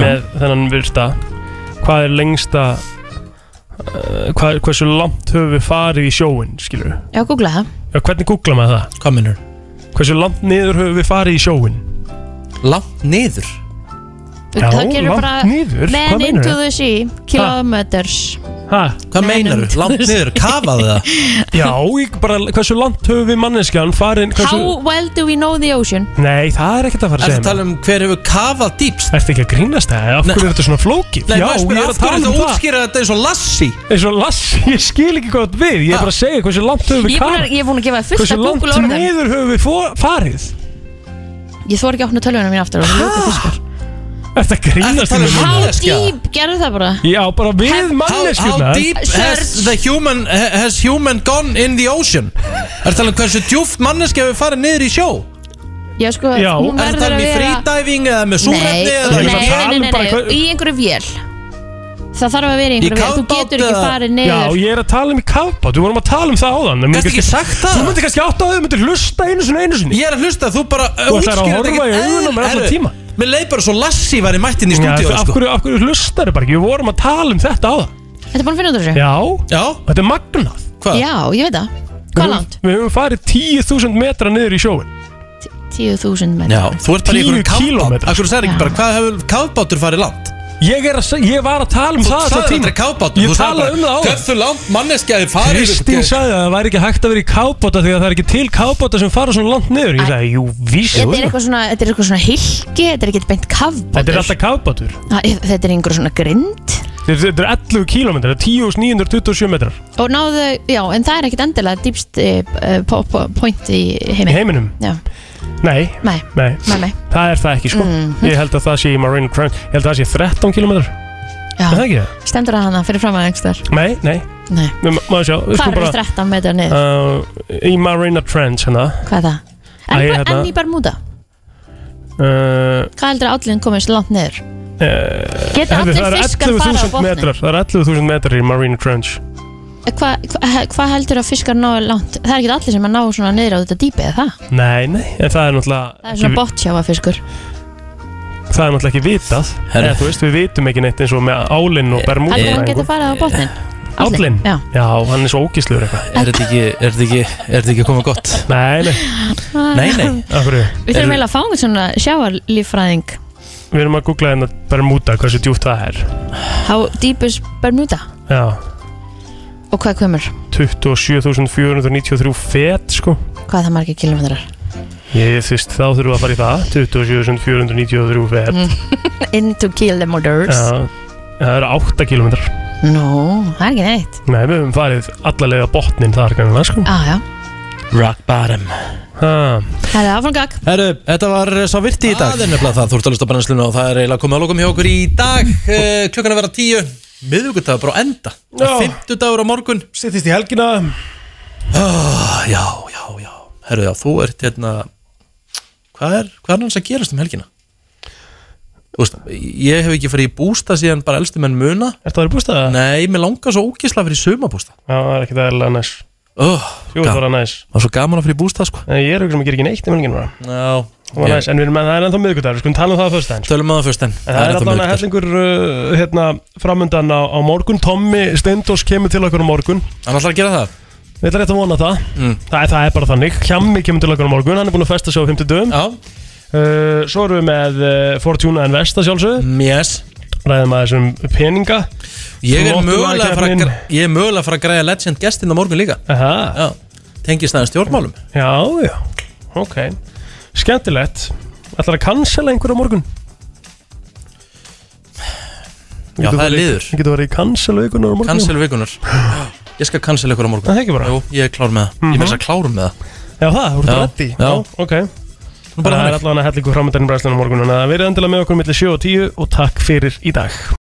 C: Með þennan virta Hvað er lengsta uh, hvað, Hversu langt höfum við farið í sjóin Skilur við
B: Já, googla það
C: Já, hvernig googla maður það?
A: Hvað minnur?
C: Hversu langt niður höfum við farið í sjóin?
A: Langt niður?
C: Já,
B: það gerir
C: langt
B: bara
C: niður
B: Man into
C: það?
B: the sea, kilometers
C: Ha?
A: Hvað meinaru? Langt niður, kafaðu það?
C: Já, ég bara, hversu langt höfum við manneskjan farin hversu...
B: How well do we know the ocean?
C: Nei, það er ekkert að fara að
A: Ertu
C: segja
A: að tala um hver hefur kafað dýpst?
C: Ertu ekki að grínast það? Af hverju er þetta svona flókið?
A: Nei,
C: Já,
A: maður
C: ég
A: spyrir,
C: er
A: af
C: að tala
A: hverju
C: um
A: þú
C: það
A: útskýrir þetta eins og lassi?
C: eins og Lassi, ég skil ekki hvað þú átt við Ég er bara að segja hversu langt höfum
B: Ég er búin að- ég
C: við kafað
B: er búin að gefa fullt
C: Hversu
B: af
C: langt
B: Google orðum
C: niður höfum við fó- farið?
B: Ég þor ekki að opna tölvunum mín aftur og ljóta fiskar
C: Er þetta grínast um- í mér
B: How
C: núna?
B: deep gerðu það bara?
C: Já, bara við
A: How,
C: manneskjurnar
A: how deep has the human has human gone in the ocean? Er það um hversu djúft manneski hefur farið niður í sjó?
B: Já, sko, hún
A: Er
B: verður
A: það
B: að
A: með
B: vera
A: freediving eða með
B: Nei,
A: súrefni eða
B: nei,
C: um
B: nei, nei, nei, nei, í einhverju vél Það þarf að vera í
A: Í
B: einhverju vél Þú
A: kafbát
B: getur ekki
A: eða-
B: farið
C: Já,
B: niður
C: ég er að tala um í kafbát, við vorum að tala um það áðan en mér
A: Gastu ekki sagt það?
C: Þú myndir kannski átt að þau myndir hlusta einu sinni, einu sinni
A: Ég er að hlusta, þú bara uh,
C: Þú ætlar að
A: útskýrir
C: horfa í augun á mér allan
A: Herru,
C: tíma.
A: Mér leið bara svo lassi væri mættin í
C: Já,
A: stúdíu
C: af
A: sko.
C: hverju, af hverju hlustar þau bara ekki? Við vorum að tala um þetta áðan
B: Þetta er búin að finna út úr þessu?
C: Já,
A: Já,
C: þetta er magnað
B: Já, ég veit það Hvað
C: Við höfum-
B: langt?
C: Við höfum farið 10.000 metra niður í sjóin
B: 10.000 menn
A: Já, þú ert bara í einhverjum
C: 10 kílómetra.
A: kafbát Akkur sagði ekki
B: Já.
A: bara, hvað hefur kafbátur farið langt?
C: Ég, er að, seg- ég var að tala um
A: Þú
C: það
A: sagðir
C: allan tímann.
A: aldrei kafbátur,
C: Ég
A: þú sagðir
C: talaði
A: bara,
C: um það áðan.
A: hversu langt manneskja hefur farið? sko?"
C: Kristín sagði að það væri ekki hægt að vera í kábóta því að það er ekki til kábóta sem fara svona langt niður Ég sagði, jú, víst
B: Þetta er eitthvað svona, þetta er eitthvað svona hilki, þetta er ekkert beint kafbátur
C: Þetta er alltaf kábótur
B: Ha, Þetta er einhver svona grind
C: Þetta er 11 km, 10.927 metrar
B: Og náðu, já, en það er ekkert endilega dýpst uh, point í
C: Í
B: heiminum
C: heiminum?
B: Já,
C: Nei,
B: nei,
C: nei,
B: nei, nei.
C: það er það ekki sko
B: Mhm.
C: Ég held að það sé í Marine Crown Ég held að það sé 13 km Er
B: Já.
C: það ekki það?
B: Stendur það hana fyrir framann einhver
C: Nei, nei
B: Nei.
C: Við ma- Maður sjá, við
B: Hvað er
C: skulum Sko, bara
B: 13 metrar niður?
C: uh, Í Marina Trench hérna
B: Hvað er það? En,
C: Æ,
B: Æ,
C: hérna-
B: en í Bermuda,
C: uh,
B: hvað heldur að allir komist langt niður?
C: uh,
B: Geta
C: herðu,
B: allir
C: það eru
B: fiskar farið á
C: 11.000
B: botninn?
C: metrar Það eru 11.000 metrar í Marina Trench
B: Hvað Eh, hva, hva heldur að fiskar ná langt? Það er ekkert allir sem að ná svona niður á þetta dýpi eða það?
C: Nei, nei, en það er náttúrulega
B: Það er svona bottsjáafiskur
C: Það er náttúrulega ekki vitað
A: Herru. Eh,
C: Eða, Þú veist, við vitum ekki neitt eins og með álinn og bermúda
B: Heldur hann geta farið á botnin?
C: Állinn?
B: Já
C: Já, hann er svo ógísluður eitthvað
A: Er þetta ekki, er þetta ekki, er þetta ekki komið gott?
C: Nei, nei
A: Nei, nei.
C: Af hverju?
B: Ah. Við þurfum eiginlega að fá einhvern svona sjáarlíffræðing
C: Við erum að googla hérna bermúda, hversu djúpt það er
B: How deep is Bermuda?
C: Já,
B: Og hvað komur?
C: 27.493 fet, sko
B: Hvað er það margir kilometrar?
C: Ég þvist, þá þurfum við að fara í það 27.493 fet
B: Mm. Into kilometers
C: Já, það eru 8 kilometrar
B: Nú, það er ekki neitt
C: Nei, við höfum farið allalega botnin þar kannan, sko
B: ah, já.
C: Rock bottom Ha,
B: Það er áframgag
A: Herru, þetta var eh, sá virti í dag Það er nefnilega það, þú ert að lusta brennsluna og það er eiginlega komið að lokum hjá okkur í dag uh, Klukkan er að vera tíu, miðvíkudagur bara á enda Fymtudagur á morgun
C: Sittist í helgina Ah.
A: oh, Já, já, já Herru, já, þú ert hérna Hvað er, hvað er annars að gerast um helgina? Þú veist, ég hef ekki farið í bústa síðan bara elstu menn muna
C: Ertu að vera í bústa?
A: Nei, mér langar svo ógisla að fyrir sumabústa
C: Já, það er ekkert aðeinslega næs
A: oh,
C: Jú, það var næs
A: Það var svo gaman að fyrir bústa, sko
C: En ég er okkur sem að gera ekki neitt í mjölginu bara
A: Já
C: Það var næst, en við erum en það er ennþá miðgudagur, við skulum tala um það á föstudaginn
A: Tölum að það fyrst en
C: En það er
A: ennþá
C: allan að
A: miðvikudagur.
C: hellingur uh, hérna, framundan á, á morgun Tommi Steindós kemur til okkur á morgun
A: Hann ætlar að gera það
C: Við ætlum rétt að vona það
A: Mm.
C: það, er- það er bara þannig, Hjammi kemur til okkur á morgun Hann er búin að festa sig á 50 dögum
A: uh,
C: Svo erum við með uh, Fortuna Investa sjálfsögðu
A: mm, Yes
C: Ræðum aðeins um peninga
A: Ég er
C: Lottómaður
A: mögulega að fara að
C: keppnin.
A: græ- ég er mögulega að fara að græja legend gestinn á morgun líka
C: Aha.
A: Já, tengist aðeins stjórnmálum
C: Já, já, ok Skemmtilegt Ætlar að cancela einhver á morgun?
A: Já,
C: Getur
A: það er
C: farið-
A: liður.
C: Getur verið í cancela einhver á morgun?
A: Cancel vikunar Ég skal cancel ykkur á morgun
C: Það er ekki bara.
A: Jú, ég er klár með það Ég með þess að klárum með það
C: Já það, þú ert
A: Já,
C: reddi
A: já.
C: ok
A: bara
C: Það er
A: þannig.
C: allavega að hella ykkur framöndan í bræðslunum morgun Þannig að verið endilega með okkur millir 7 og 10 og takk fyrir í dag